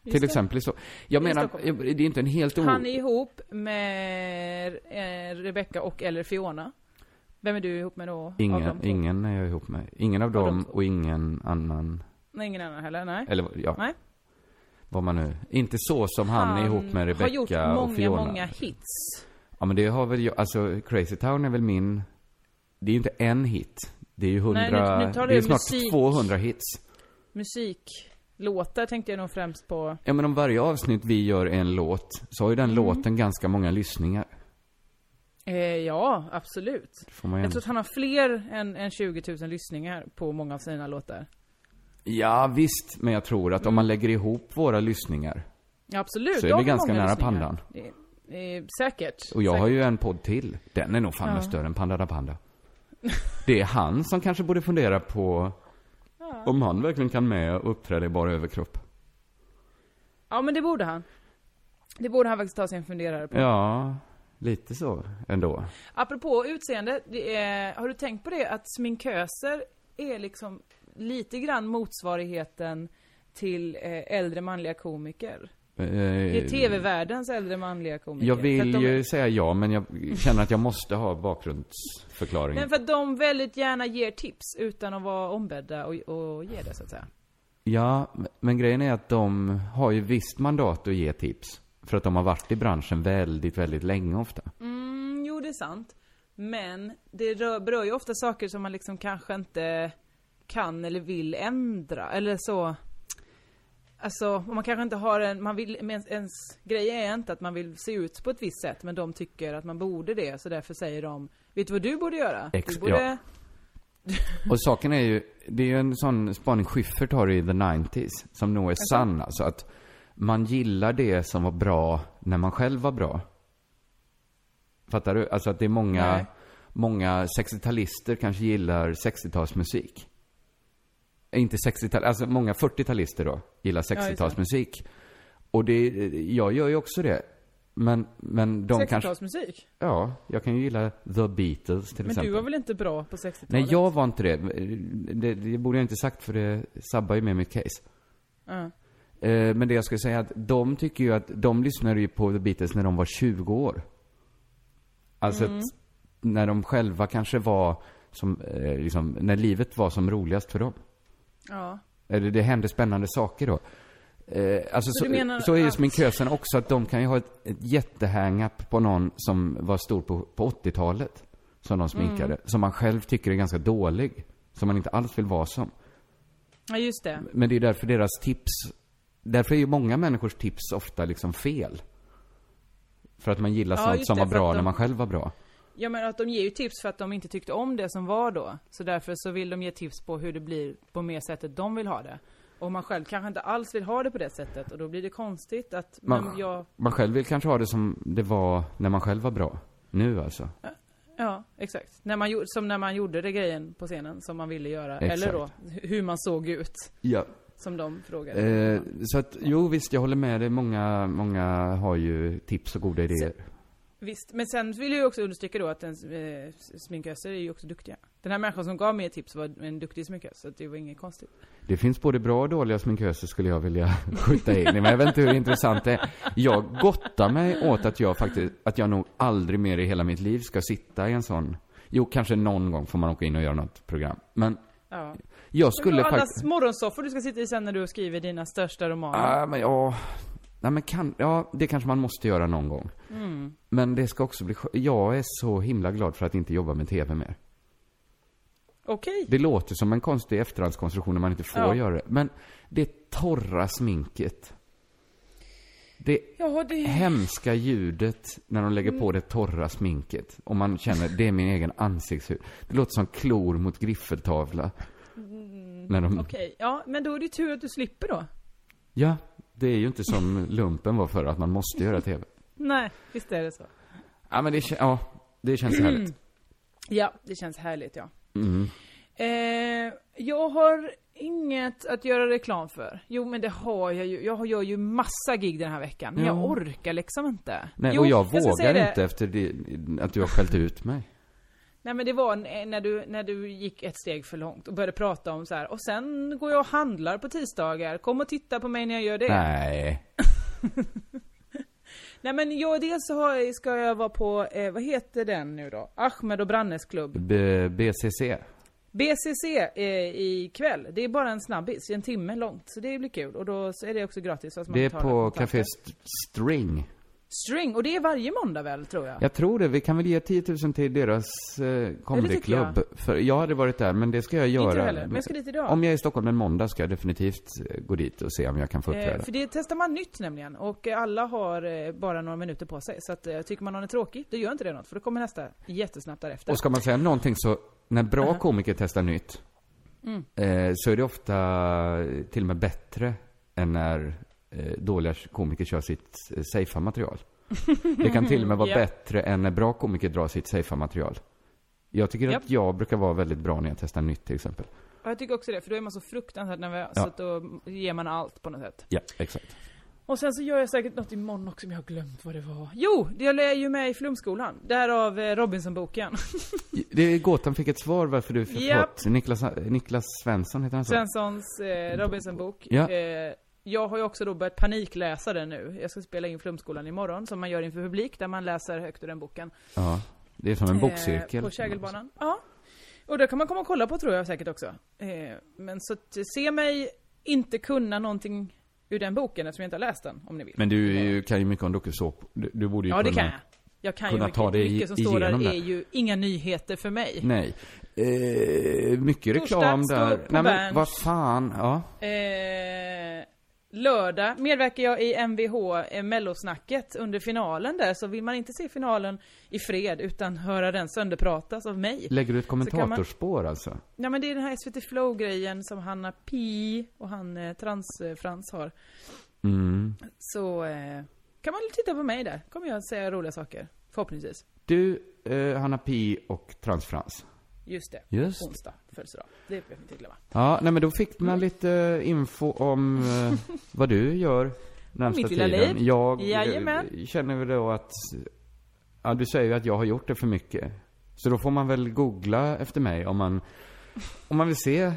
[SPEAKER 3] du.
[SPEAKER 2] till exempel så. Jag
[SPEAKER 3] Det är
[SPEAKER 2] menar,
[SPEAKER 3] Stockholm.
[SPEAKER 2] det är inte en helt o...
[SPEAKER 3] Han är ihop med eh, Rebecca och eller Fiona. Vem är du ihop med då? Av dem
[SPEAKER 2] Ingen,
[SPEAKER 3] två?
[SPEAKER 2] ingen är jag ihop med. Ingen av
[SPEAKER 3] de
[SPEAKER 2] dem
[SPEAKER 3] två.
[SPEAKER 2] och ingen annan.
[SPEAKER 3] Nej, ingen annan heller, nej.
[SPEAKER 2] Eller ja.
[SPEAKER 3] Nej.
[SPEAKER 2] Vad man nu. Inte så som Eh, han, är ihop med Rebecca
[SPEAKER 3] har gjort många,
[SPEAKER 2] och Fiona.
[SPEAKER 3] många hits.
[SPEAKER 2] Ja men det har väl jag, alltså Crazy Town är väl min. Det är ju inte en hit. Det är ju
[SPEAKER 3] Nej, nu-
[SPEAKER 2] hundra,
[SPEAKER 3] nu tar
[SPEAKER 2] det är
[SPEAKER 3] du
[SPEAKER 2] snart
[SPEAKER 3] musik.
[SPEAKER 2] 200 hits.
[SPEAKER 3] Musiklåtar tänkte jag nog främst på.
[SPEAKER 2] Ja men om varje avsnitt vi gör en låt, så har ju den
[SPEAKER 3] Mm.
[SPEAKER 2] låten ganska många lyssningar.
[SPEAKER 3] Eh, ja, absolut.
[SPEAKER 2] Får man ju
[SPEAKER 3] Jag
[SPEAKER 2] ändå-
[SPEAKER 3] tror att han har fler än, än 20 000 lyssningar på många av sina låtar.
[SPEAKER 2] Ja visst, men jag tror att om man lägger ihop våra lyssningar,
[SPEAKER 3] Ja, absolut.
[SPEAKER 2] Så är
[SPEAKER 3] de
[SPEAKER 2] vi
[SPEAKER 3] har
[SPEAKER 2] ganska
[SPEAKER 3] många
[SPEAKER 2] nära
[SPEAKER 3] lyssningar.
[SPEAKER 2] pandan.
[SPEAKER 3] Eh, eh, säkert.
[SPEAKER 2] och jag
[SPEAKER 3] säkert.
[SPEAKER 2] har ju en podd till, den är nog fan
[SPEAKER 3] Ja.
[SPEAKER 2] större än Panda da Panda. Det är han som kanske borde fundera på om han verkligen kan med och uppträda i bara överkropp.
[SPEAKER 3] Ja, men det borde han. Det borde han faktiskt ta sig en funderare på.
[SPEAKER 2] Ja, lite så ändå.
[SPEAKER 3] Apropå utseende, det är, har du tänkt på det att sminköser är liksom lite grann motsvarigheten till eh, äldre manliga komiker? Det är tv-världens äldre manliga komiker.
[SPEAKER 2] Eh, Jag
[SPEAKER 3] För
[SPEAKER 2] vill
[SPEAKER 3] att de,
[SPEAKER 2] ju säga ja, men jag känner att jag måste ha bakgrundsförklaring.
[SPEAKER 3] Men för att de väldigt gärna ger tips utan att vara ombedda och, och ge det så att säga.
[SPEAKER 2] Ja, men grejen är att de har ju visst mandat att ge tips. För att de har varit i branschen väldigt, väldigt länge ofta.
[SPEAKER 3] Mm, jo det är sant. Men det rör, berör ju ofta saker som man liksom kanske inte kan eller vill ändra eller så. Alltså, och man kanske inte har en, man vill, men ens, ens grej är inte att man vill se ut på ett visst sätt men de tycker att man borde det så därför säger de, vet du vad du borde göra?
[SPEAKER 2] Ex-
[SPEAKER 3] du borde...
[SPEAKER 2] ja.
[SPEAKER 3] Mm.
[SPEAKER 2] Och saken är ju, det är ju en sån spaning Schyffert har i the 90s, som nog är sann alltså. Att man gillar det som var bra när man själv var bra. Fattar du? Alltså att det är många,
[SPEAKER 3] Nej.
[SPEAKER 2] många 60-talister kanske gillar 60-talsmusik. Eh, Inte 60-tal, alltså många 40-talister då gillar
[SPEAKER 3] just det.
[SPEAKER 2] 60-talsmusik. Och det, jag gör ju också det. Men, men de kanske,
[SPEAKER 3] 60-talsmusik?
[SPEAKER 2] ja, jag kan ju gilla The Beatles till
[SPEAKER 3] Men
[SPEAKER 2] exempel.
[SPEAKER 3] du var väl inte bra på 60-talet?
[SPEAKER 2] Nej, jag var inte det. det. Det borde jag inte sagt för det sabbar ju med mitt case.
[SPEAKER 3] Ja.
[SPEAKER 2] Eh, Men det jag skulle säga är att de tycker ju att, de lyssnade ju på The Beatles när de var 20 år. Alltså att, när de själva kanske var som, eh, liksom, när livet var som roligast för dem.
[SPEAKER 3] ja.
[SPEAKER 2] Eller det hände spännande saker då. Eh, alltså
[SPEAKER 3] Så
[SPEAKER 2] så,
[SPEAKER 3] du menar
[SPEAKER 2] så är ju
[SPEAKER 3] att-
[SPEAKER 2] sminkösen också att de kan ju ha ett, ett jättehang-up på någon som var stor på, på 80-talet.
[SPEAKER 3] Mm.
[SPEAKER 2] Som de sminkade. Som man själv tycker är ganska dålig. Som man inte alls vill vara som.
[SPEAKER 3] Ja, just det.
[SPEAKER 2] Men det är därför deras tips, därför är ju många människors tips ofta liksom fel. För att man gillar
[SPEAKER 3] Ja,
[SPEAKER 2] sånt
[SPEAKER 3] just
[SPEAKER 2] som
[SPEAKER 3] det,
[SPEAKER 2] var
[SPEAKER 3] för att
[SPEAKER 2] bra
[SPEAKER 3] de-
[SPEAKER 2] när man själv var bra.
[SPEAKER 3] Ja men att de ger ju tips för att de inte tyckte om det som var då. Så därför så vill de ge tips på hur det blir på mer sättet de vill ha det. Och man själv kanske inte alls vill ha det på det sättet och då blir det konstigt att,
[SPEAKER 2] Man-
[SPEAKER 3] men jag,
[SPEAKER 2] Man själv vill kanske ha det som det var när man själv var bra. Nu alltså.
[SPEAKER 3] ja exakt. När man, gjorde- som när man gjorde det grejen på scenen som man ville göra. Eller då hu- hur man såg ut.
[SPEAKER 2] Ja.
[SPEAKER 3] Som de frågade.
[SPEAKER 2] Eh, så att, jo visst, jag håller med dig. Många, många har ju tips och goda idéer.
[SPEAKER 3] Visst, men sen vill jag ju också understryka då att en eh, sminköser är ju också duktiga. Den här människan som gav mig ett tips var en duktig sminkös, så att det var inget konstigt.
[SPEAKER 2] Det finns både bra och dåliga sminköser skulle jag vilja skjuta in i, men jag vet inte hur intressant det är. Jag gottar mig åt att jag faktiskt, att jag nog aldrig mer i hela mitt liv ska sitta i en sån. Jo, kanske någon gång får man åka in och göra något program. Men
[SPEAKER 3] Ja.
[SPEAKER 2] jag
[SPEAKER 3] Skulle
[SPEAKER 2] skulle
[SPEAKER 3] alla
[SPEAKER 2] faktiskt... Ah.
[SPEAKER 3] morgonsoffor du ska sitta i sen när du skriver dina största romaner.
[SPEAKER 2] Ja, men ja. Nej, men kan, ja, det kanske man måste göra någon gång. Men det ska också bli skö- Jag är så himla glad för att inte jobba med TV mer.
[SPEAKER 3] Okej.
[SPEAKER 2] Det låter som en konstig efterhandskonstruktion när man inte får
[SPEAKER 3] Ja.
[SPEAKER 2] göra det. Men det torra sminket. Det
[SPEAKER 3] Ja, det...
[SPEAKER 2] hemska ljudet när de lägger
[SPEAKER 3] Mm.
[SPEAKER 2] på det torra sminket. Och man känner, det är min egen ansiktshud. Det låter som klor mot griffeltavla. När de...
[SPEAKER 3] Mm, Okej, ja men då är det tur att du slipper då.
[SPEAKER 2] Ja, det är ju inte som lumpen var förr, att man måste göra TV.
[SPEAKER 3] Nej, visst är det så.
[SPEAKER 2] Ja, men det, kä- ja, det känns härligt.
[SPEAKER 3] Ja, det känns härligt ja.
[SPEAKER 2] Mm.
[SPEAKER 3] Eh, jag har inget att göra reklam för. Jo men det har jag ju. Jag har- gör ju massa gig den här veckan. Men jag
[SPEAKER 2] Ja.
[SPEAKER 3] orkar liksom inte.
[SPEAKER 2] Nej,
[SPEAKER 3] jo,
[SPEAKER 2] och jag,
[SPEAKER 3] ska säga
[SPEAKER 2] vågar
[SPEAKER 3] det.
[SPEAKER 2] inte efter det, att du har skällt ut mig.
[SPEAKER 3] Nej men det var n- när du, när du gick ett steg för långt och började prata om så här. och sen går jag och handlar på tisdagar, kom och titta på mig när jag gör det.
[SPEAKER 2] Nej.
[SPEAKER 3] Nej men jag, dels så har, ska jag vara på, eh, vad heter den nu då? Ahmed och Brannes klubb.
[SPEAKER 2] B- BCC.
[SPEAKER 3] BCC eh, ikväll. Det är bara en snabbis, en timme långt. Så det blir kul. Och då så är det också gratis. fast man
[SPEAKER 2] Det är
[SPEAKER 3] betalar
[SPEAKER 2] på
[SPEAKER 3] kontanter.
[SPEAKER 2] Café St- String.
[SPEAKER 3] String. Och det är varje måndag väl, tror jag?
[SPEAKER 2] Jag tror det. Vi kan väl ge 10 000 till deras eh, comedyklubb.
[SPEAKER 3] tycker
[SPEAKER 2] För jag hade varit där, men det ska jag göra.
[SPEAKER 3] Inte jag heller, men jag ska dit idag.
[SPEAKER 2] Om jag är i Stockholm en måndag ska jag definitivt eh, gå dit och se om jag kan få uppträda.
[SPEAKER 3] Eh, för det testar man nytt nämligen. Och eh, alla har eh, bara några minuter på sig. Så att, eh, tycker man någon är tråkig, då gör inte det något. För då kommer nästa jättesnabbt därefter.
[SPEAKER 2] Och ska man säga någonting så, när bra
[SPEAKER 3] Uh-huh.
[SPEAKER 2] komiker testar nytt,
[SPEAKER 3] Mm.
[SPEAKER 2] eh, så är det ofta eh, till och med bättre än när eh, dåliga komiker kör sitt eh, safea material. Det kan till och med vara
[SPEAKER 3] Ja.
[SPEAKER 2] bättre än när bra komiker drar sitt safea material. Jag tycker
[SPEAKER 3] Japp.
[SPEAKER 2] att jag brukar vara väldigt bra när jag testar nytt till exempel.
[SPEAKER 3] Och jag tycker också det, för då är man så fruktansvärt nervös.
[SPEAKER 2] Ja.
[SPEAKER 3] Så att då ger man allt på något sätt.
[SPEAKER 2] Ja, exakt.
[SPEAKER 3] Och sen så gör jag säkert något imorgon också, men jag har glömt vad det var. Jo! Jag är ju med i Flumskolan. Därav eh, Robinsonboken.
[SPEAKER 2] Det är gåtan fick ett svar varför du fick
[SPEAKER 3] Japp.
[SPEAKER 2] fått Niklas, Niklas Svensson heter han så?
[SPEAKER 3] Svenssons eh, Robinson-bok.
[SPEAKER 2] Ja.
[SPEAKER 3] Eh, jag har ju också då börjat panikläsa den nu. Jag ska spela in Flumskolan imorgon, som man gör inför publik, där man läser högt ur den boken.
[SPEAKER 2] Ja. Det är som en
[SPEAKER 3] Eh,
[SPEAKER 2] bokcirkel.
[SPEAKER 3] på Kägelbanan. Ja. Och det kan man komma och kolla på tror jag säkert också. Eh, men så att, se mig inte kunna någonting ur den boken eftersom jag inte har läst den, om ni vill.
[SPEAKER 2] Men du är ju- kan ju mycket om dokusåpor. Du, du borde ju
[SPEAKER 3] ja, det
[SPEAKER 2] kunna...
[SPEAKER 3] kan jag. Jag kan ju
[SPEAKER 2] kunna
[SPEAKER 3] mycket.
[SPEAKER 2] ta dig
[SPEAKER 3] mycket som står där
[SPEAKER 2] igenom det.
[SPEAKER 3] är ju inga nyheter för mig.
[SPEAKER 2] Nej. Eh, mycket reklam
[SPEAKER 3] Torsdag, stå
[SPEAKER 2] där.
[SPEAKER 3] upp på
[SPEAKER 2] Nej men
[SPEAKER 3] Berns.
[SPEAKER 2] vad fan, ja.
[SPEAKER 3] Eh, lördag medverkar jag i MVH eh, mellosnacket under finalen där, så vill man inte se finalen i fred utan höra den sönderpratas av mig.
[SPEAKER 2] Lägger du ett
[SPEAKER 3] Så kan man-
[SPEAKER 2] kommentatorspår alltså?
[SPEAKER 3] Ja men det är den här SVT Flow-grejen som Hanna Pi och han eh, Trans-Frans har.
[SPEAKER 2] Mm.
[SPEAKER 3] Så eh, kan man titta på mig där, kommer jag säga roliga saker. Förhoppningsvis.
[SPEAKER 2] Du, eh, Hanna Pi och Transfrans.
[SPEAKER 3] Just det.
[SPEAKER 2] Just.
[SPEAKER 3] Onsdag, födelsedag. Det behöver vi inte glömma.
[SPEAKER 2] Ja, nej men då fick
[SPEAKER 3] Mm.
[SPEAKER 2] man lite info om eh, vad du gör närmsta
[SPEAKER 3] Mitt lilla
[SPEAKER 2] tiden.
[SPEAKER 3] liv.
[SPEAKER 2] Jag eh,
[SPEAKER 3] Jajamän.
[SPEAKER 2] känner väl då att, ja du säger ju att jag har gjort det för mycket. Så då får man väl googla efter mig om man, om man vill se.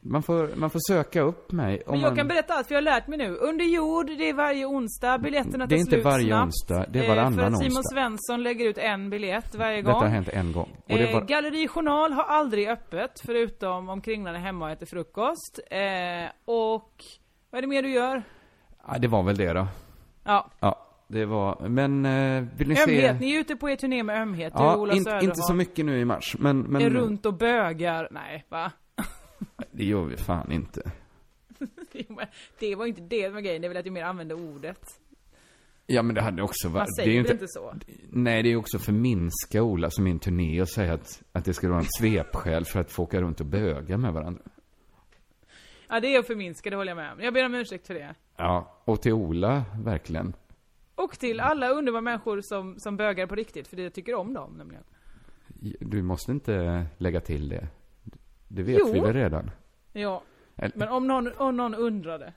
[SPEAKER 2] Man får, man får söka upp mig. Om
[SPEAKER 3] Men jag
[SPEAKER 2] man...
[SPEAKER 3] kan berätta allt, för jag har lärt mig nu. Under jord, det är varje onsdag, biljetterna
[SPEAKER 2] Det är
[SPEAKER 3] tar
[SPEAKER 2] inte
[SPEAKER 3] slut
[SPEAKER 2] varje
[SPEAKER 3] snabbt.
[SPEAKER 2] onsdag, det är
[SPEAKER 3] Eh,
[SPEAKER 2] varannan
[SPEAKER 3] För att Simon
[SPEAKER 2] onsdag.
[SPEAKER 3] Svensson lägger ut en biljett varje gång.
[SPEAKER 2] Detta har hänt en gång. Och det
[SPEAKER 3] Eh,
[SPEAKER 2] var...
[SPEAKER 3] Galleri Journal har aldrig öppet, förutom om kringlan är hemma och äter frukost. Eh, och vad är det mer du gör?
[SPEAKER 2] Ja, det var väl det då.
[SPEAKER 3] Ja,
[SPEAKER 2] Ja, det var, men eh, vill ni
[SPEAKER 3] ömhet.
[SPEAKER 2] se?
[SPEAKER 3] Ni är ute på er turné med ömhet. du och
[SPEAKER 2] Ja,
[SPEAKER 3] Ola
[SPEAKER 2] inte, inte så mycket nu i mars, men, men
[SPEAKER 3] Är runt och bögar. Nej, va?
[SPEAKER 2] det gör vi fan inte.
[SPEAKER 3] Jo, men Det var ju inte det som var grejen, det är väl att jag mer använde ordet.
[SPEAKER 2] Ja men det hade också varit...
[SPEAKER 3] Man
[SPEAKER 2] det
[SPEAKER 3] säger
[SPEAKER 2] är ju
[SPEAKER 3] väl
[SPEAKER 2] inte,
[SPEAKER 3] inte... så?
[SPEAKER 2] Nej, det är ju också förminska Ola som min turné och säga att, att det skulle vara en svepskäl för att få åka runt och böga med varandra.
[SPEAKER 3] Ja, det är att förminska, det håller jag med om. Jag ber om ursäkt för det.
[SPEAKER 2] Ja, och till Ola, verkligen.
[SPEAKER 3] Och till
[SPEAKER 2] Mm.
[SPEAKER 3] alla underbara människor som, som bögar på riktigt, för jag tycker om dem nämligen.
[SPEAKER 2] Du måste inte lägga till det. Det vet
[SPEAKER 3] Jo.
[SPEAKER 2] vi väl redan?
[SPEAKER 3] Ja,
[SPEAKER 2] Eller-
[SPEAKER 3] men om någon, om någon undrade.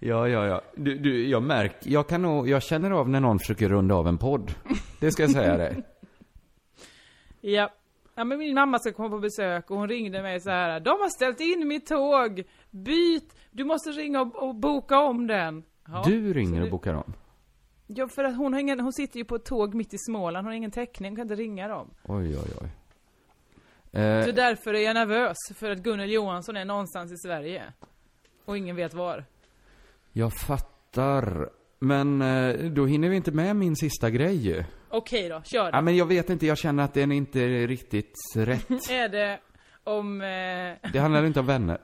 [SPEAKER 2] Ja, ja, ja. Du, du, jag märker, jag kan nog, jag känner av när någon försöker runda av en podd. Det ska jag säga dig.
[SPEAKER 3] Ja. Ja men min mamma ska komma på besök och hon ringde mig så här. De har ställt in mitt tåg! Byt! Du måste ringa och, och boka om den! Ja,
[SPEAKER 2] Du ringer
[SPEAKER 3] så
[SPEAKER 2] och bokar om.
[SPEAKER 3] Ja för att hon har ingen, hon sitter ju på ett tåg mitt i Småland, hon har ingen täckning, hon kan inte ringa dem.
[SPEAKER 2] Oj, oj, oj. Eh,
[SPEAKER 3] Så därför är jag nervös, för att Gunnel Johansson är någonstans i Sverige. Och ingen vet var.
[SPEAKER 2] jag fattar. Men eh, då hinner vi inte med min sista grej ju.
[SPEAKER 3] Okej då, kör!
[SPEAKER 2] Ja, men jag vet inte, jag känner att den inte är riktigt rätt.
[SPEAKER 3] Är det om eh,
[SPEAKER 2] Det handlar inte om vänner.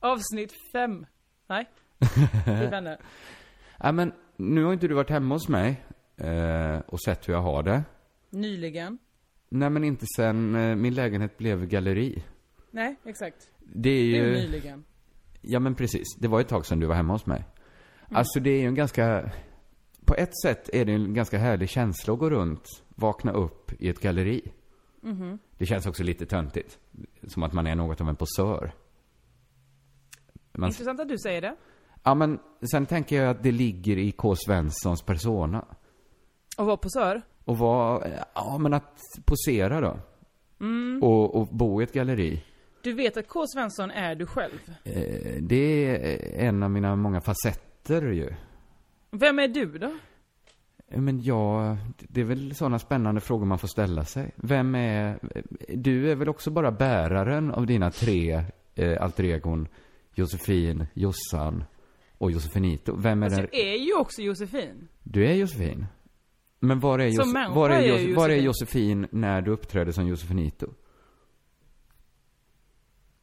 [SPEAKER 3] avsnitt fem? Nej? Typ Det är vänner.
[SPEAKER 2] Ja, men nu har inte du varit hemma hos mig eh, och sett hur jag har det.
[SPEAKER 3] Nyligen?
[SPEAKER 2] Nej, men inte sen eh, min lägenhet blev galleri.
[SPEAKER 3] Nej, exakt.
[SPEAKER 2] Det är
[SPEAKER 3] Det är ju
[SPEAKER 2] ju...
[SPEAKER 3] nyligen.
[SPEAKER 2] Ja, men precis. Det var ett tag sedan du var hemma hos mig. Alltså, det är ju en ganska... På ett sätt är det en ganska härlig känsla att gå runt, vakna upp i ett galleri. Det känns också lite töntigt. Som att man är något av en posör. Man
[SPEAKER 3] Intressant att du säger det.
[SPEAKER 2] Ja, men sen tänker jag att det ligger i K. Svenssons persona.
[SPEAKER 3] Och vara posör?
[SPEAKER 2] Och vara, ja men att posera då. Och, och bo i ett galleri.
[SPEAKER 3] Du vet att K. Svensson är du själv.
[SPEAKER 2] Eh, det är en av mina många facetter ju.
[SPEAKER 3] Vem är du då?
[SPEAKER 2] Eh, Men ja, det är väl sådana spännande frågor man får ställa sig. Vem är, eh, du är väl också bara bäraren av dina tre eh, alter egon Josefin, Jossan och Josefinito. Vem är
[SPEAKER 3] Fast
[SPEAKER 2] den...
[SPEAKER 3] du Alltså, är ju också Josefin.
[SPEAKER 2] Du är Josefin. Men var är,
[SPEAKER 3] Som
[SPEAKER 2] Jose-
[SPEAKER 3] människa
[SPEAKER 2] var, är,
[SPEAKER 3] är jag
[SPEAKER 2] Jose- var är Josefin när du uppträder som Josefinito?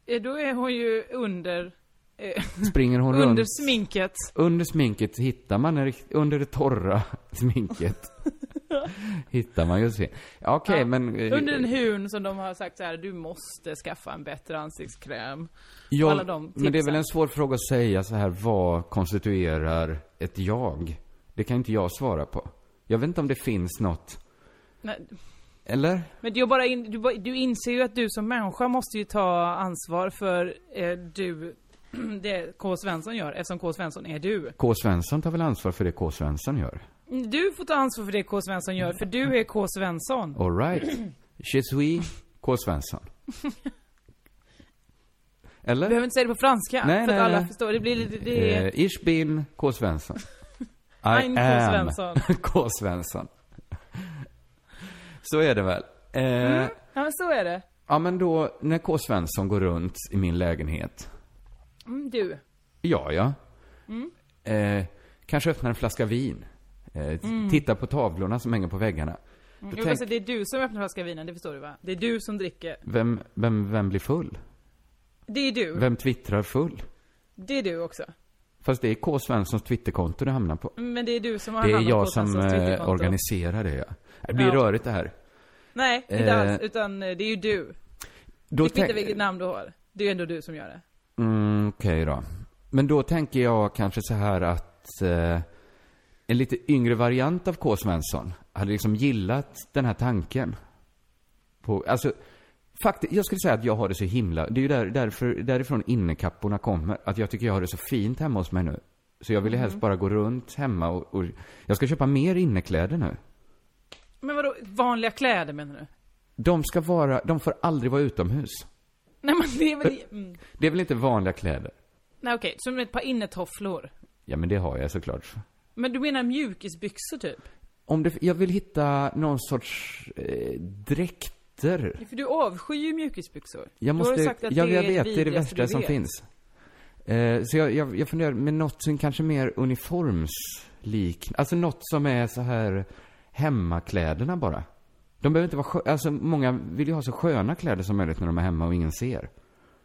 [SPEAKER 3] Eh, Då är hon ju under, eh,
[SPEAKER 2] Springer hon
[SPEAKER 3] under
[SPEAKER 2] runt?
[SPEAKER 3] sminket.
[SPEAKER 2] Under sminket hittar man en rikt- under det torra sminket. hittar man Josefin. Ja, Okej,
[SPEAKER 3] Ja,
[SPEAKER 2] men... eh,
[SPEAKER 3] Under en hun som de har sagt så här: du måste skaffa en bättre ansiktskräm.
[SPEAKER 2] ja,
[SPEAKER 3] alla de
[SPEAKER 2] Men det är
[SPEAKER 3] tipsen.
[SPEAKER 2] väl en svår fråga att säga så här, vad konstituerar ett jag? Det kan inte jag svara på. Jag vet inte om det finns något.
[SPEAKER 3] Nej,
[SPEAKER 2] Eller?
[SPEAKER 3] Men du, bara in, du, bara- du inser ju att du som människa måste ju ta ansvar för eh, du, det K. Svensson gör, eftersom K. Svensson är du.
[SPEAKER 2] K. Svensson tar väl ansvar för det K. Svensson gör?
[SPEAKER 3] Du får ta ansvar för det K. Svensson gör, för du är K. Svensson.
[SPEAKER 2] Mm. Alright. Je suis K. Svensson.
[SPEAKER 3] Du
[SPEAKER 2] Eller?
[SPEAKER 3] behöver inte säga det på franska,
[SPEAKER 2] Nej,
[SPEAKER 3] för
[SPEAKER 2] nej,
[SPEAKER 3] att alla
[SPEAKER 2] nej.
[SPEAKER 3] förstår. Det blir lite, det är...
[SPEAKER 2] Eh, ich bin K. Svensson. I
[SPEAKER 3] Ein K.
[SPEAKER 2] am
[SPEAKER 3] Svensson.
[SPEAKER 2] K. Svensson. Så är det väl. Eh,
[SPEAKER 3] Ja men så är det.
[SPEAKER 2] Ja men då, när K. Svensson går runt i min lägenhet.
[SPEAKER 3] Mm, du.
[SPEAKER 2] Ja, ja.
[SPEAKER 3] Mm.
[SPEAKER 2] Eh, kanske öppnar en flaska vin. Eh, t- Tittar på tavlorna som hänger på väggarna. Då
[SPEAKER 3] Mm. Jo,
[SPEAKER 2] tänk,
[SPEAKER 3] alltså, det är du som öppnar flaskan vinen, det förstår du va? Det Mm. är du som dricker.
[SPEAKER 2] vem, vem, vem blir full?
[SPEAKER 3] Det är du.
[SPEAKER 2] Vem twittrar full?
[SPEAKER 3] Det är du också. Mm,
[SPEAKER 2] Fast det är K. Svenssons twitterkonto det hamnar på.
[SPEAKER 3] Men det är du som har
[SPEAKER 2] Det
[SPEAKER 3] hand
[SPEAKER 2] är
[SPEAKER 3] om K.
[SPEAKER 2] jag som
[SPEAKER 3] Svenssons
[SPEAKER 2] eh,
[SPEAKER 3] Twitterkonto.
[SPEAKER 2] organiserar det, ja. Det blir
[SPEAKER 3] Ja.
[SPEAKER 2] rörigt det här.
[SPEAKER 3] Nej, inte
[SPEAKER 2] Eh.
[SPEAKER 3] alls. Utan eh, det är ju du.
[SPEAKER 2] Då
[SPEAKER 3] Det kvittar
[SPEAKER 2] tänk-
[SPEAKER 3] vilket namn du har. Det är ju ändå du som gör det.
[SPEAKER 2] Mm, okej då. Men då tänker jag kanske så här att eh, en lite yngre variant av K. Svensson hade liksom gillat den här tanken. På, alltså, faktiskt, jag skulle säga att jag har det så himla, det är ju där, därför, därifrån innekapporna kommer. Att jag tycker jag har det så fint hemma hos mig nu. Så jag vill helst bara gå runt hemma och, och jag ska köpa mer innekläder nu.
[SPEAKER 3] Men vadå, vanliga kläder menar du?
[SPEAKER 2] De ska vara, de får aldrig vara utomhus.
[SPEAKER 3] Nej men det är väl... Mm.
[SPEAKER 2] Det är väl inte vanliga kläder?
[SPEAKER 3] Nej okej, som ett par innetofflor.
[SPEAKER 2] Ja, men det har jag såklart.
[SPEAKER 3] Men du menar mjukisbyxor typ?
[SPEAKER 2] Om det, jag vill hitta någon sorts eh, dräkter.
[SPEAKER 3] För du avskyr ju mjukisbyxor.
[SPEAKER 2] Jag
[SPEAKER 3] du har
[SPEAKER 2] måste,
[SPEAKER 3] ju sagt att
[SPEAKER 2] jag,
[SPEAKER 3] det
[SPEAKER 2] jag
[SPEAKER 3] är
[SPEAKER 2] vet, det är det
[SPEAKER 3] vidrigaste
[SPEAKER 2] värsta
[SPEAKER 3] du
[SPEAKER 2] som
[SPEAKER 3] vet.
[SPEAKER 2] finns. Eh, så jag, jag, jag funderar med något som kanske mer uniformsliknande, alltså något som är så här hemmakläderna bara. De behöver inte vara skö- alltså många vill ju ha så sköna kläder som möjligt när de är hemma och ingen ser.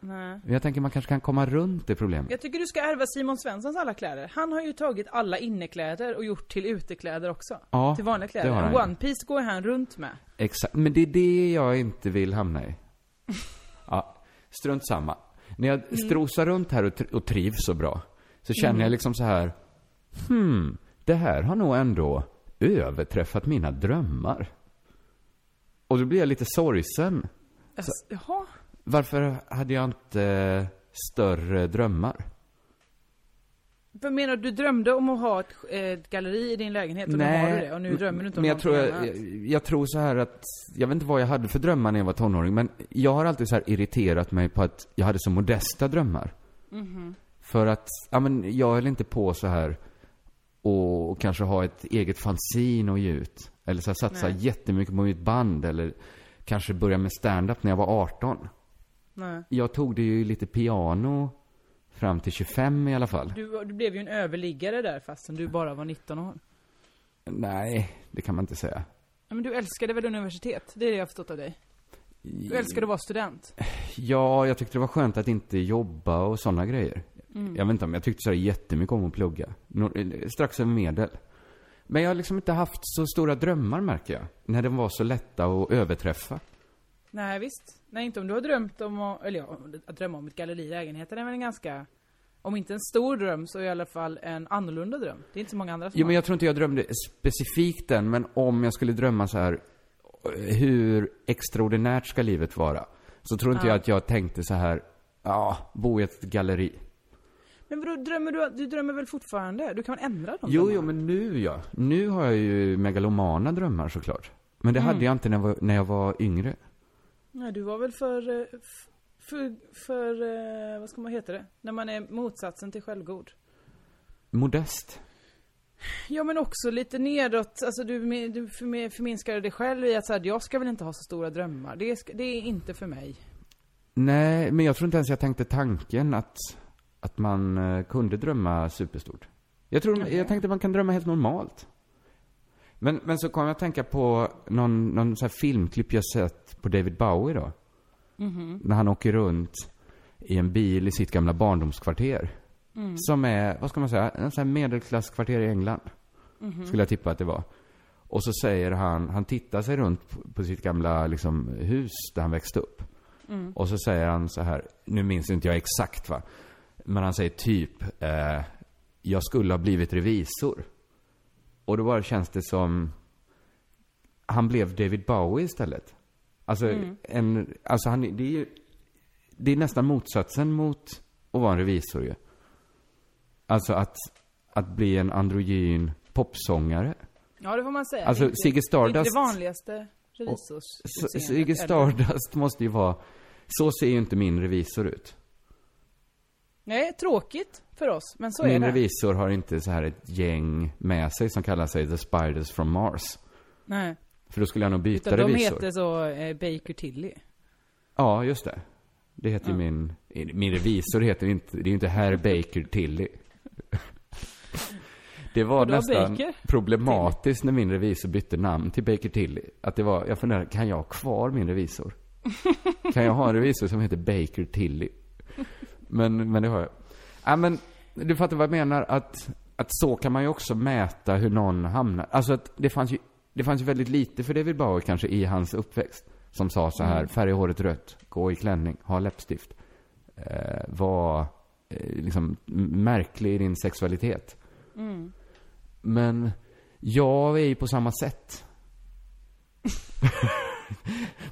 [SPEAKER 3] Nej.
[SPEAKER 2] Jag tänker man kanske kan komma runt det problemet.
[SPEAKER 3] Jag tycker du ska ärva Simon Svenssons alla kläder. Han har ju tagit alla innekläder och gjort till utekläder också.
[SPEAKER 2] Ja,
[SPEAKER 3] till vanliga kläder.
[SPEAKER 2] det har han
[SPEAKER 3] En
[SPEAKER 2] ju.
[SPEAKER 3] One Piece går han runt med.
[SPEAKER 2] Exakt, men det är det jag inte vill hamna i. Ja, strunt samma. När jag strosar runt här och, tr- och trivs så bra, så känner jag liksom så här, hmm, det här har nog ändå överträffat mina drömmar. Och då blir jag lite sorgsen.
[SPEAKER 3] Alltså, jaha.
[SPEAKER 2] Varför hade jag inte större drömmar?
[SPEAKER 3] Vad menar du? Du drömde om att ha ett, ett galleri i din lägenhet och nu har du det. Och nu drömmer du inte om
[SPEAKER 2] men jag tror,
[SPEAKER 3] någonting
[SPEAKER 2] jag,
[SPEAKER 3] annat.
[SPEAKER 2] jag, jag tror så här att, jag vet inte vad jag hade för drömmar när jag var tonåring, men jag har alltid så här irriterat mig på att jag hade så modesta drömmar.
[SPEAKER 3] Mhm.
[SPEAKER 2] För att, ja men jag höll inte på så här och, och kanske ha ett eget fanzine och ge ut. Eller så här, satsa jättemycket på mitt band eller kanske börja med stand-up när jag var 18.
[SPEAKER 3] Nej.
[SPEAKER 2] Jag tog det ju lite piano fram till 25 i alla fall.
[SPEAKER 3] Du, du blev ju en överliggare där fastän du bara var 19 år.
[SPEAKER 2] Nej, det kan man inte säga.
[SPEAKER 3] Ja, men du älskade väl universitet? Det är det jag har förstått av dig. Du älskade att vara student.
[SPEAKER 2] Ja, jag tyckte det var skönt att inte jobba och sådana grejer. Jag vet inte om jag tyckte så här jättemycket om att plugga. Nå- eh, strax över medel. Men jag har liksom inte haft så stora drömmar märker jag. När de var så lätta att överträffa.
[SPEAKER 3] Nej visst. Nej inte om du har drömt om att, eller ja, att drömma om ett galleri i lägenheten är väl en ganska, om inte en stor dröm så i alla fall en annorlunda dröm. Det är inte så många andra som
[SPEAKER 2] Jo, men
[SPEAKER 3] har.
[SPEAKER 2] jag tror inte jag drömde specifikt den, men om jag skulle drömma så här, eh, hur extraordinärt ska livet vara? Så tror inte jag att jag tänkte så här, ja, bo i ett galleri.
[SPEAKER 3] Men vadå, drömmer du, du drömmer väl fortfarande? Du kan väl ändra dem?
[SPEAKER 2] Jo, jo, men nu ja. Nu har jag ju megalomana drömmar såklart. Men det hade jag inte när jag var, när jag var yngre.
[SPEAKER 3] Nej du var väl för, eh, f- för, för, eh, vad ska man heta det? När man är motsatsen till självgod.
[SPEAKER 2] Modest.
[SPEAKER 3] Ja men också lite nedåt, alltså du, me- du förme- förminskade dig själv i att så här, jag ska väl inte ha så stora drömmar. Det, ska, det är inte för mig.
[SPEAKER 2] Nej, men jag tror inte ens jag tänkte tanken att, att man eh, kunde drömma superstort. Jag, tror, jag tänkte man kan drömma helt normalt. Men, men så kom jag att tänka på någon, någon så här filmklipp jag sett på David Bowie då. När han åker runt i en bil i sitt gamla barndomskvarter. Som är, vad ska man säga, en sån här medelklasskvarter i England. Skulle jag tippa att det var. Och så säger han, han tittar sig runt på, på sitt gamla liksom, hus där han växte upp. Och så säger han så här, nu minns inte jag exakt va. Men han säger typ, eh, jag skulle ha blivit revisor. Och då bara känns det som, han blev David Bowie istället. Alltså, en, alltså han, det är ju, det är nästan motsatsen mot att vara en revisor ju. Alltså att, att bli en androgyn popsångare.
[SPEAKER 3] Ja det får man säga.
[SPEAKER 2] Alltså,
[SPEAKER 3] Det är
[SPEAKER 2] Ziggy
[SPEAKER 3] inte- Det är inte
[SPEAKER 2] Stardust-
[SPEAKER 3] det vanligaste revisors
[SPEAKER 2] Så- Ziggy Stardust måste ju vara, så ser ju inte min revisor ut.
[SPEAKER 3] Nej, tråkigt för oss, men så är
[SPEAKER 2] Min
[SPEAKER 3] det.
[SPEAKER 2] revisor har inte så här ett gäng med sig som kallar sig The Spiders from Mars.
[SPEAKER 3] Nej,
[SPEAKER 2] För då skulle jag nog byta
[SPEAKER 3] utan de
[SPEAKER 2] revisor.
[SPEAKER 3] heter så eh, Baker Tilly.
[SPEAKER 2] Ja, just det. Det heter ju min, min revisor heter inte, det är ju inte Herr Baker Tilly. Det var
[SPEAKER 3] Och då
[SPEAKER 2] nästan
[SPEAKER 3] Baker
[SPEAKER 2] problematiskt när min revisor bytte namn till Baker Tilly. Att det var, jag funderade, kan jag ha kvar min revisor? kan jag ha en revisor som heter Baker Tilly? Men, men det har jag. Ja, men du fattar vad jag menar att, att så kan man ju också mäta hur någon hamnar. Alltså att det fanns ju, det fanns ju väldigt lite för David Bowie kanske i hans uppväxt. Som sa så här, färga håret rött, gå i klänning, ha läppstift. Eh, var eh, liksom m- märklig i din sexualitet. Men jag är ju på samma sätt.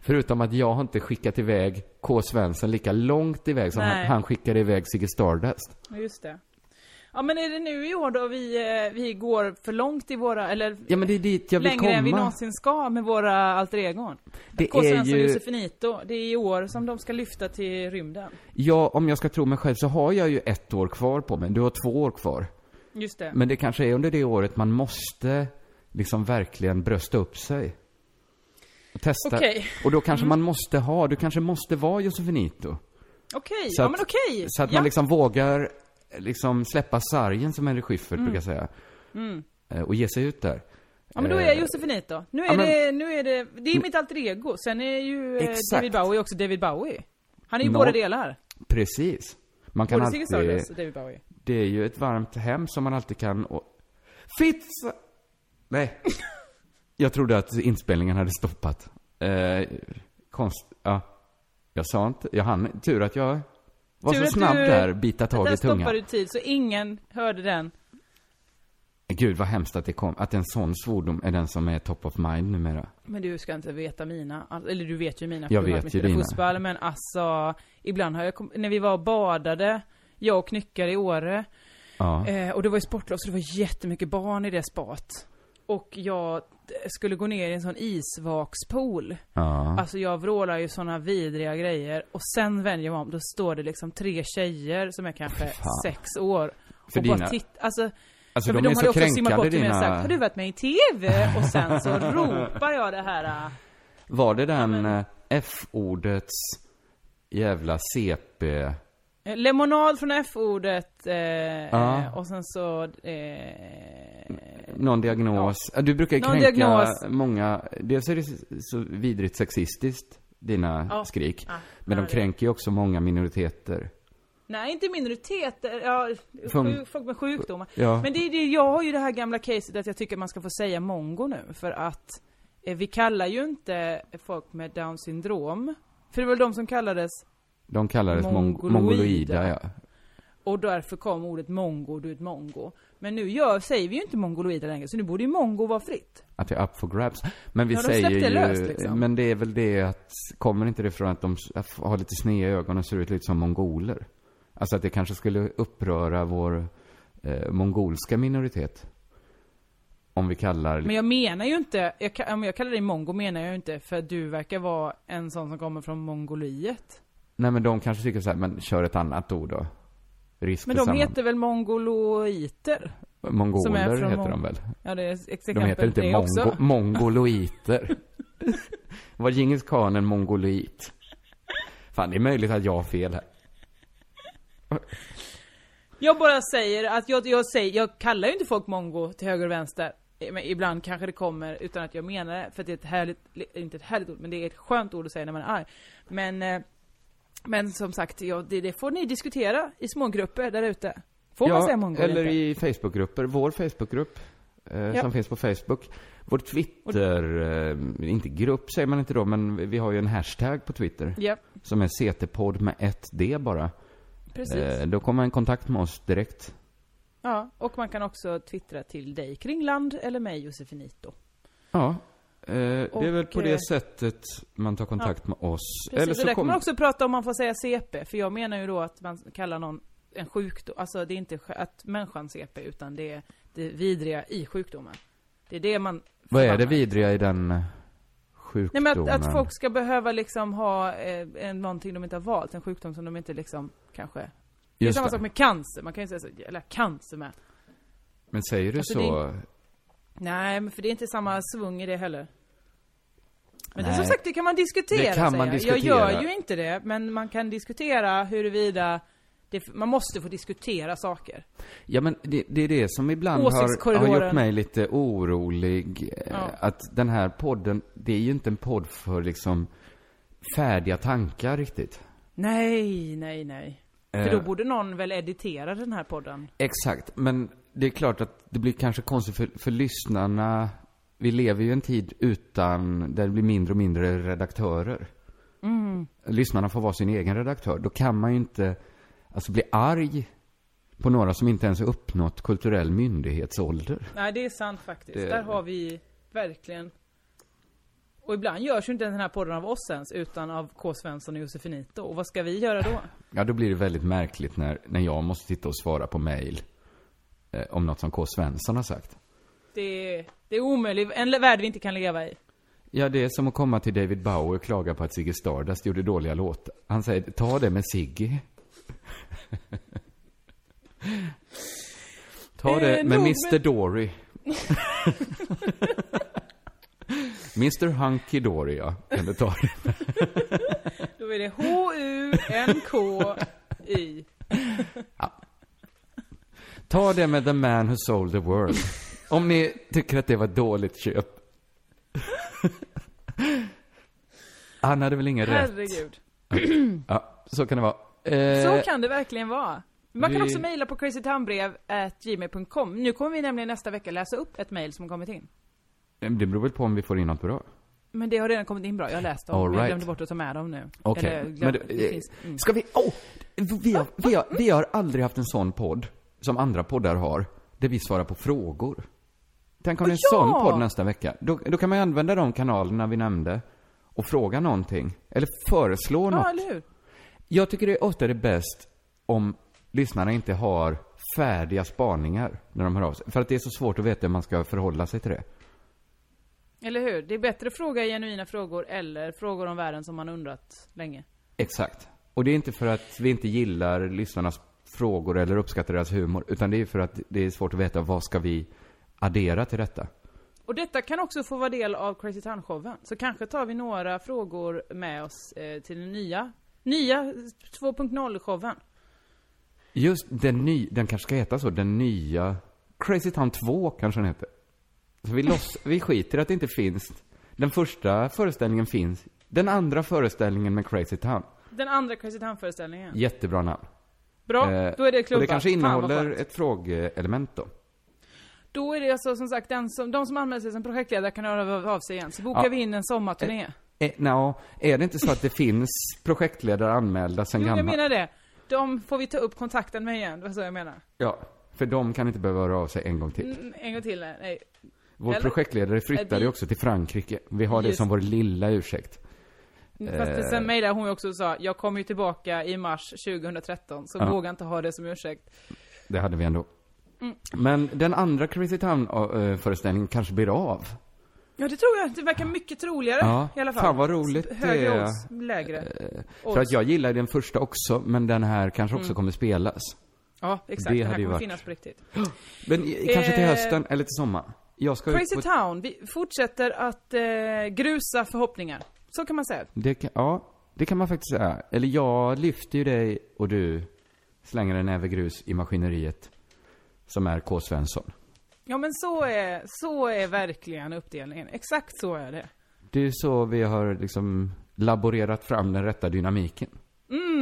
[SPEAKER 2] Förutom att jag har inte skickat iväg K. Svensson lika långt iväg som han,
[SPEAKER 3] Nej.
[SPEAKER 2] han skickade iväg Ziggy Stardust.
[SPEAKER 3] Ja, Just det. Ja men är det nu i år då vi, eh, vi går för långt i våra, eller
[SPEAKER 2] Ja men det är dit jag vill
[SPEAKER 3] längre
[SPEAKER 2] komma.
[SPEAKER 3] än vi någonsin ska med våra alter egon?
[SPEAKER 2] Det
[SPEAKER 3] K.
[SPEAKER 2] är
[SPEAKER 3] Svensson
[SPEAKER 2] ju-
[SPEAKER 3] och Josefinito, det är i år som de ska lyfta till rymden.
[SPEAKER 2] Ja, om jag ska tro mig själv så har jag ju ett år kvar på mig. Du har två år kvar.
[SPEAKER 3] Just det.
[SPEAKER 2] Men det kanske är under det året man måste liksom verkligen brösta upp sig. Och testa.
[SPEAKER 3] Okej. Mm.
[SPEAKER 2] Och då kanske man måste ha, du kanske måste vara Josefinito.
[SPEAKER 3] Okej,
[SPEAKER 2] Så
[SPEAKER 3] ja
[SPEAKER 2] att-
[SPEAKER 3] men okej!
[SPEAKER 2] Så att
[SPEAKER 3] ja.
[SPEAKER 2] man liksom vågar liksom släppa sargen som Henry Schyffert brukar säga. Eh, Och ge sig ut där.
[SPEAKER 3] Mm. Ja men då är jag Josefinit då. Nu är,
[SPEAKER 2] ja, men-
[SPEAKER 3] det, nu är det, det är mitt alter ego. Sen är ju eh,
[SPEAKER 2] Exakt.
[SPEAKER 3] David Bowie också David Bowie. Han är ju
[SPEAKER 2] No.
[SPEAKER 3] båda delar.
[SPEAKER 2] Eh, Precis. Man kan
[SPEAKER 3] Både Ziggy
[SPEAKER 2] alltid...
[SPEAKER 3] Stardust och David Bowie.
[SPEAKER 2] Det är ju ett varmt hem som man alltid kan... Och... Fitz... Nej. Jag trodde att inspelningen hade stoppat. Eh, konst... Ja. Jag sa inte... Jag hann... Tur att jag var
[SPEAKER 3] Tur
[SPEAKER 2] så
[SPEAKER 3] att
[SPEAKER 2] snabb
[SPEAKER 3] du-
[SPEAKER 2] där, bita tag
[SPEAKER 3] Där
[SPEAKER 2] i tungan.
[SPEAKER 3] stoppade du tid så ingen hörde den.
[SPEAKER 2] Gud vad hemskt att det kom, att en sån svordom är den som är top of mind numera.
[SPEAKER 3] Men du ska inte veta mina, all- eller du vet ju mina. för
[SPEAKER 2] Jag
[SPEAKER 3] du har
[SPEAKER 2] vet
[SPEAKER 3] mitt
[SPEAKER 2] ju dina.
[SPEAKER 3] relationsfall, Men alltså, ibland har jag, kom- när vi var och badade, jag och Knyckare i Åre.
[SPEAKER 2] Ja.
[SPEAKER 3] Eh, och det var ju sportlov så det var jättemycket barn i det spat. Och jag eh, skulle gå ner i en sån isvakspool.
[SPEAKER 2] ja.
[SPEAKER 3] Alltså jag vrålar ju såna vidriga grejer och sen vänder jag mig om, då står det liksom tre tjejer som är kanske sex år.
[SPEAKER 2] För
[SPEAKER 3] och
[SPEAKER 2] dina-
[SPEAKER 3] bara titt, alltså,
[SPEAKER 2] Alltså
[SPEAKER 3] för
[SPEAKER 2] de,
[SPEAKER 3] de
[SPEAKER 2] är
[SPEAKER 3] hade
[SPEAKER 2] så
[SPEAKER 3] också simmat
[SPEAKER 2] kränkande
[SPEAKER 3] bort till mig och sagt,
[SPEAKER 2] dina...
[SPEAKER 3] har du varit med i TV? Och sen så ropar jag det här. äh,
[SPEAKER 2] Var det den eh, F-ordets jävla CP...
[SPEAKER 3] eh, Lemonad från F-ordet eh,
[SPEAKER 2] Ja.
[SPEAKER 3] och sen så... Eh,
[SPEAKER 2] Någon diagnos. Du brukar
[SPEAKER 3] Någon
[SPEAKER 2] kränka
[SPEAKER 3] diagnos.
[SPEAKER 2] många, dels är det så vidrigt sexistiskt, dina
[SPEAKER 3] Ja.
[SPEAKER 2] skrik.
[SPEAKER 3] Ja,
[SPEAKER 2] men
[SPEAKER 3] ja,
[SPEAKER 2] de
[SPEAKER 3] det-
[SPEAKER 2] kränker ju också många minoriteter.
[SPEAKER 3] Nej, inte minoriteter. Ja,
[SPEAKER 2] Som-
[SPEAKER 3] sjuk, folk med sjukdomar.
[SPEAKER 2] Ja.
[SPEAKER 3] Men det, är det, jag har ju det här gamla caset att jag tycker man ska få säga mongo nu. För att eh, vi kallar ju inte folk med down syndrom. För det var väl de som kallades.
[SPEAKER 2] De kallades mong-
[SPEAKER 3] Mongoloida.
[SPEAKER 2] mongoloida, ja.
[SPEAKER 3] Och därför kom ordet mongo och du är ett mongo. Men nu gör, säger vi ju inte mongoloider längre, så nu borde ju mongo vara fritt.
[SPEAKER 2] Att det är up for grabs. Men vi
[SPEAKER 3] Ja, de
[SPEAKER 2] säger
[SPEAKER 3] släppte
[SPEAKER 2] ju,
[SPEAKER 3] löst, liksom.
[SPEAKER 2] men det är väl det att, kommer inte det från att de s- har lite sneda ögon och ser ut lite som mongoler? Alltså att det kanske skulle uppröra vår eh, mongolska minoritet. Om vi kallar
[SPEAKER 3] Men jag menar ju inte, jag, ka- om jag kallar dig mongo menar jag ju inte för att du verkar vara en sån som kommer från Mongoliet.
[SPEAKER 2] Nej men de kanske tycker så här, men kör ett annat ord då. Risk
[SPEAKER 3] Men
[SPEAKER 2] för
[SPEAKER 3] de
[SPEAKER 2] samman-
[SPEAKER 3] heter väl mongoloiter?
[SPEAKER 2] Mongoler
[SPEAKER 3] som är från
[SPEAKER 2] heter
[SPEAKER 3] Mong-
[SPEAKER 2] de väl?
[SPEAKER 3] Ja, det är ett exempel
[SPEAKER 2] De heter inte
[SPEAKER 3] det
[SPEAKER 2] mongo-
[SPEAKER 3] också.
[SPEAKER 2] mongoloiter. Var Djingis khan en mongolit? Fan, det är möjligt att jag har fel här.
[SPEAKER 3] Jag bara säger att jag, jag, säger, jag kallar ju inte folk mongo till höger och vänster. Eh, Men ibland kanske det kommer utan att jag menar det. För att det är ett härligt, li- inte ett härligt ord, men det är ett skönt ord att säga när man är arg. Men, eh, men som sagt, ja, det, det får ni diskutera i små grupper där ute. Får man säga mongo
[SPEAKER 2] eller
[SPEAKER 3] inte?
[SPEAKER 2] i Facebookgrupper. Vår Facebookgrupp. Eh,
[SPEAKER 3] Ja.
[SPEAKER 2] Som finns på Facebook. Vår Twitter, eh, inte grupp säger man inte då, men vi har ju en hashtag på Twitter.
[SPEAKER 3] Ja,
[SPEAKER 2] Som är CT-podd med ett D bara.
[SPEAKER 3] precis.
[SPEAKER 2] Eh, då kommer man i kontakt med oss direkt.
[SPEAKER 3] Ja, och man kan också twittra till dig Kringland eller mig Josefinito.
[SPEAKER 2] Ja. Eh, det är väl på
[SPEAKER 3] Och,
[SPEAKER 2] det
[SPEAKER 3] eh,
[SPEAKER 2] sättet man tar kontakt med oss.
[SPEAKER 3] Precis,
[SPEAKER 2] Eller
[SPEAKER 3] och
[SPEAKER 2] så
[SPEAKER 3] där kan
[SPEAKER 2] kommer...
[SPEAKER 3] man också prata om man får säga CP, för jag menar ju då att man kallar någon en sjukdom, alltså det är inte sj- att människan CP, utan det är det vidriga i sjukdomen. Det är det man...
[SPEAKER 2] Vad är det
[SPEAKER 3] förbannar.
[SPEAKER 2] vidriga i den eh, sjukdomen?
[SPEAKER 3] Nej men att, att folk ska behöva liksom ha eh, en, någonting de inte har valt, en sjukdom som de inte liksom kanske... Det är
[SPEAKER 2] Just
[SPEAKER 3] samma
[SPEAKER 2] det.
[SPEAKER 3] sak med cancer, man kan ju säga så, eller cancer med.
[SPEAKER 2] Men säger du
[SPEAKER 3] Alltså, det
[SPEAKER 2] så?
[SPEAKER 3] är- Nej, men för det är inte samma svung i det heller. Men det,
[SPEAKER 2] Mm. Nej.
[SPEAKER 3] som sagt, det kan man diskutera.
[SPEAKER 2] Det kan man
[SPEAKER 3] säger jag. Jag
[SPEAKER 2] diskutera.
[SPEAKER 3] gör ju inte det, men man kan diskutera huruvida det, man måste få diskutera saker.
[SPEAKER 2] Ja men det, det är det som ibland har,
[SPEAKER 3] Åsiktskorridoren.
[SPEAKER 2] har gjort mig lite orolig. eh,
[SPEAKER 3] Ja.
[SPEAKER 2] Att den här podden, det är ju inte en podd för liksom färdiga tankar riktigt.
[SPEAKER 3] Nej, nej, nej. För
[SPEAKER 2] Eh.
[SPEAKER 3] då borde någon väl editera den här podden.
[SPEAKER 2] Exakt, men det är klart att det blir kanske konstigt för, för lyssnarna. Vi lever ju i en tid utan, där det blir mindre och mindre redaktörer.
[SPEAKER 3] Mm.
[SPEAKER 2] Lyssnarna får vara sin egen redaktör. Då kan man ju inte, alltså bli arg på några som inte ens har uppnått kulturell myndighetsålder.
[SPEAKER 3] Nej, det är sant faktiskt.
[SPEAKER 2] Det-
[SPEAKER 3] Där har vi verkligen... Och ibland görs ju inte den här podden av oss ens, utan av K. Svensson och Josefinito. Och vad ska vi göra då?
[SPEAKER 2] Ja, då blir det väldigt märkligt när, när jag måste sitta och svara på mejl eh, om något som K. Svensson har sagt.
[SPEAKER 3] Det är, det är omöjligt, en värld vi inte kan leva i.
[SPEAKER 2] Ja, det är som att komma till David Bowie och klaga på att Ziggy Stardust gjorde dåliga låtar. Han säger, ta det med Ziggy. ta det
[SPEAKER 3] Eh,
[SPEAKER 2] med
[SPEAKER 3] nog
[SPEAKER 2] Mr
[SPEAKER 3] med-
[SPEAKER 2] Dory. Mr Hunky Dory, ja. Kan du ta det?
[SPEAKER 3] Då är det H-U-N-K-I.
[SPEAKER 2] Ta det med The Man Who Sold The World. Om ni tycker att det var ett dåligt köp. Han hade väl ingen rätt?
[SPEAKER 3] Herregud.
[SPEAKER 2] Ja, så kan det vara. Eh,
[SPEAKER 3] Så kan det verkligen vara. Man kan
[SPEAKER 2] vi-
[SPEAKER 3] också mejla på crazytownbrev.gmail.com. Nu kommer vi nämligen nästa vecka läsa upp ett mejl som kommit in.
[SPEAKER 2] Det beror väl på om vi får in något bra.
[SPEAKER 3] Men det har redan kommit in bra, jag har läst dem.
[SPEAKER 2] All
[SPEAKER 3] Jag
[SPEAKER 2] right.
[SPEAKER 3] glömde bort att ta med dem nu.
[SPEAKER 2] Okej.
[SPEAKER 3] Eller glöm-
[SPEAKER 2] Men
[SPEAKER 3] det
[SPEAKER 2] du, eh,
[SPEAKER 3] finns- mm.
[SPEAKER 2] Ska vi... Oh, vi, har, vi, har, vi har aldrig haft en sån podd som andra poddar har, där vi svarar på frågor. Tänk om det är en
[SPEAKER 3] Ja!
[SPEAKER 2] sån podd nästa vecka. Då, då kan man ju använda de kanalerna vi nämnde och fråga någonting. Eller föreslå något.
[SPEAKER 3] Ja, eller hur?
[SPEAKER 2] Jag tycker det är ofta det bäst om lyssnarna inte har färdiga spaningar när de hör av sig. För att det är så svårt att veta hur man ska förhålla sig till det.
[SPEAKER 3] Eller hur? Det är bättre att fråga genuina frågor eller frågor om världen som man undrat länge.
[SPEAKER 2] Exakt. Och det är inte för att vi inte gillar lyssnarnas frågor eller uppskattar deras humor, utan det är för att det är svårt att veta vad ska vi addera till detta.
[SPEAKER 3] Och detta kan också få vara del av Crazy Town-showen. Så kanske tar vi några frågor med oss eh, till den nya, nya 2.0-showen.
[SPEAKER 2] Just den ny, den kanske ska heta så, den nya Crazy Town 2 kanske den heter. Så vi, loss, vi skiter att det inte finns. Den första föreställningen finns. Den andra föreställningen med Crazy Town.
[SPEAKER 3] Den andra Crazy Town-föreställningen.
[SPEAKER 2] Jättebra namn.
[SPEAKER 3] Bra,
[SPEAKER 2] Eh,
[SPEAKER 3] då är det
[SPEAKER 2] Och
[SPEAKER 3] klubbat.
[SPEAKER 2] det kanske
[SPEAKER 3] Fan, vad
[SPEAKER 2] innehåller
[SPEAKER 3] skönt.
[SPEAKER 2] ett frågeelement då.
[SPEAKER 3] Då är det alltså som sagt den som, de som anmäler sig som projektledare kan höra av- av sig igen. Så bokar
[SPEAKER 2] Ja.
[SPEAKER 3] vi in en sommarturné.
[SPEAKER 2] Eh, nå, är det inte så att det finns projektledare anmälda sen
[SPEAKER 3] jo, jag
[SPEAKER 2] gammalt?
[SPEAKER 3] menar det. De får vi ta upp kontakten med igen, det var så jag menar.
[SPEAKER 2] Ja, för de kan inte behöva höra av sig en gång till.
[SPEAKER 3] Mm, en gång till, nej. nej.
[SPEAKER 2] Vår
[SPEAKER 3] Eller-
[SPEAKER 2] projektledare
[SPEAKER 3] Eh,
[SPEAKER 2] flyttade
[SPEAKER 3] vi-
[SPEAKER 2] ju också till Frankrike. Vi har det
[SPEAKER 3] Just.
[SPEAKER 2] som vår lilla ursäkt. Eh.
[SPEAKER 3] Fast det- sen mejlade hon ju också och sa, jag kommer ju tillbaka i mars 2013, så
[SPEAKER 2] Ja.
[SPEAKER 3] våga inte ha det som ursäkt.
[SPEAKER 2] Det hade vi ändå.
[SPEAKER 3] Mm.
[SPEAKER 2] Men den andra Crazy Town-föreställningen kanske blir av.
[SPEAKER 3] Ja, det tror jag. Det verkar mycket troligare
[SPEAKER 2] Ja,
[SPEAKER 3] i alla fall.
[SPEAKER 2] fan vad roligt
[SPEAKER 3] S- Högre
[SPEAKER 2] det är.
[SPEAKER 3] odds, lägre.
[SPEAKER 2] För att jag gillade den första också, men den här kanske
[SPEAKER 3] Mm.
[SPEAKER 2] också kommer spelas.
[SPEAKER 3] Ja, exakt.
[SPEAKER 2] det
[SPEAKER 3] Det, här
[SPEAKER 2] hade ju
[SPEAKER 3] kommer
[SPEAKER 2] varit-
[SPEAKER 3] finnas på riktigt.
[SPEAKER 2] Men i- kanske till
[SPEAKER 3] Eh,
[SPEAKER 2] hösten eller till sommar. Jag ska ut
[SPEAKER 3] Crazy
[SPEAKER 2] på-
[SPEAKER 3] Town, vi fortsätter att eh, grusa förhoppningar. Så kan man säga.
[SPEAKER 2] Det kan, ja, det kan man faktiskt säga. Eller jag lyfter ju dig och du slänger en näve grus i maskineriet som är K. Svensson.
[SPEAKER 3] Ja men så är, så är verkligen uppdelningen. Exakt så är det.
[SPEAKER 2] Det är ju så vi har liksom laborerat fram den rätta dynamiken.
[SPEAKER 3] Mm,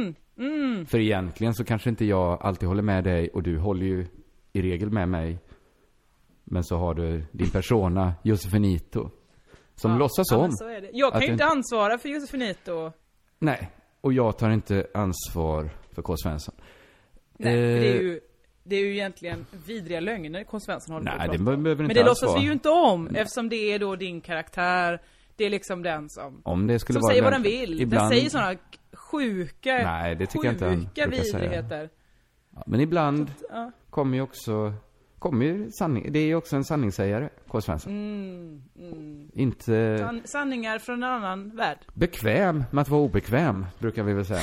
[SPEAKER 2] För egentligen så kanske inte jag alltid håller med dig och du håller ju i regel med mig. Men så har du din persona, Josefinito, som låtsas
[SPEAKER 3] Ja,
[SPEAKER 2] om.
[SPEAKER 3] men så är det. Jag kan
[SPEAKER 2] att
[SPEAKER 3] ju
[SPEAKER 2] du
[SPEAKER 3] inte
[SPEAKER 2] inte-
[SPEAKER 3] ansvara för Josefinito.
[SPEAKER 2] Nej, och jag tar inte ansvar för K. Svensson.
[SPEAKER 3] Nej, för det är
[SPEAKER 2] Eh,
[SPEAKER 3] ju, det är ju egentligen vidriga lögner K. Svensson håller på
[SPEAKER 2] Nej,
[SPEAKER 3] att
[SPEAKER 2] det
[SPEAKER 3] prata
[SPEAKER 2] be-
[SPEAKER 3] om.
[SPEAKER 2] behöver
[SPEAKER 3] Men
[SPEAKER 2] inte
[SPEAKER 3] det
[SPEAKER 2] alls
[SPEAKER 3] låtsas
[SPEAKER 2] vara.
[SPEAKER 3] vi ju inte om eftersom det är då din karaktär. Det är liksom den som,
[SPEAKER 2] Om det skulle
[SPEAKER 3] som
[SPEAKER 2] vara
[SPEAKER 3] säger vad den
[SPEAKER 2] lögn-
[SPEAKER 3] vill.
[SPEAKER 2] Ibland-
[SPEAKER 3] Den säger sådana sjuka,
[SPEAKER 2] Nej, det tycker jag inte han
[SPEAKER 3] sjuka
[SPEAKER 2] brukar säga.
[SPEAKER 3] vidrigheter.
[SPEAKER 2] Ja, Men ibland
[SPEAKER 3] ja.
[SPEAKER 2] kommer ju också, kommer ju sanning, det är ju också en sanningssägare, K. Svensson.
[SPEAKER 3] Mm,
[SPEAKER 2] Inte
[SPEAKER 3] San, sanningar från en annan värld.
[SPEAKER 2] bekväm med att vara obekväm, brukar vi väl säga.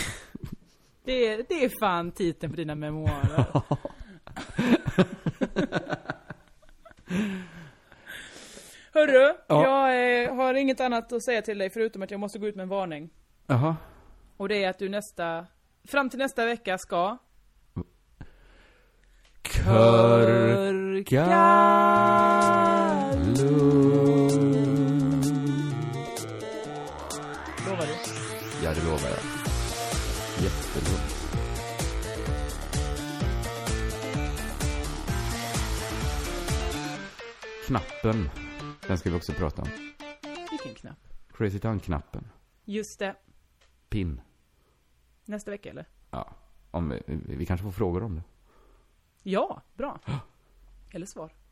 [SPEAKER 3] Det är, det är fan titeln på dina memoarer. Hörru,
[SPEAKER 2] Ja.
[SPEAKER 3] jag eh, har inget annat att säga till dig förutom att jag måste gå ut med en varning.
[SPEAKER 2] Jaha.
[SPEAKER 3] Och det är att du nästa, fram till nästa vecka ska... Lovar du?
[SPEAKER 2] Ja, det lovar jag. Jättebra. Knappen. Den ska vi också prata om.
[SPEAKER 3] Vilken knapp?
[SPEAKER 2] Crazy Town-knappen.
[SPEAKER 3] Just det.
[SPEAKER 2] Pin.
[SPEAKER 3] Nästa vecka eller?
[SPEAKER 2] Ja. Om vi, vi kanske får frågor om det.
[SPEAKER 3] Ja, bra. Eller svar.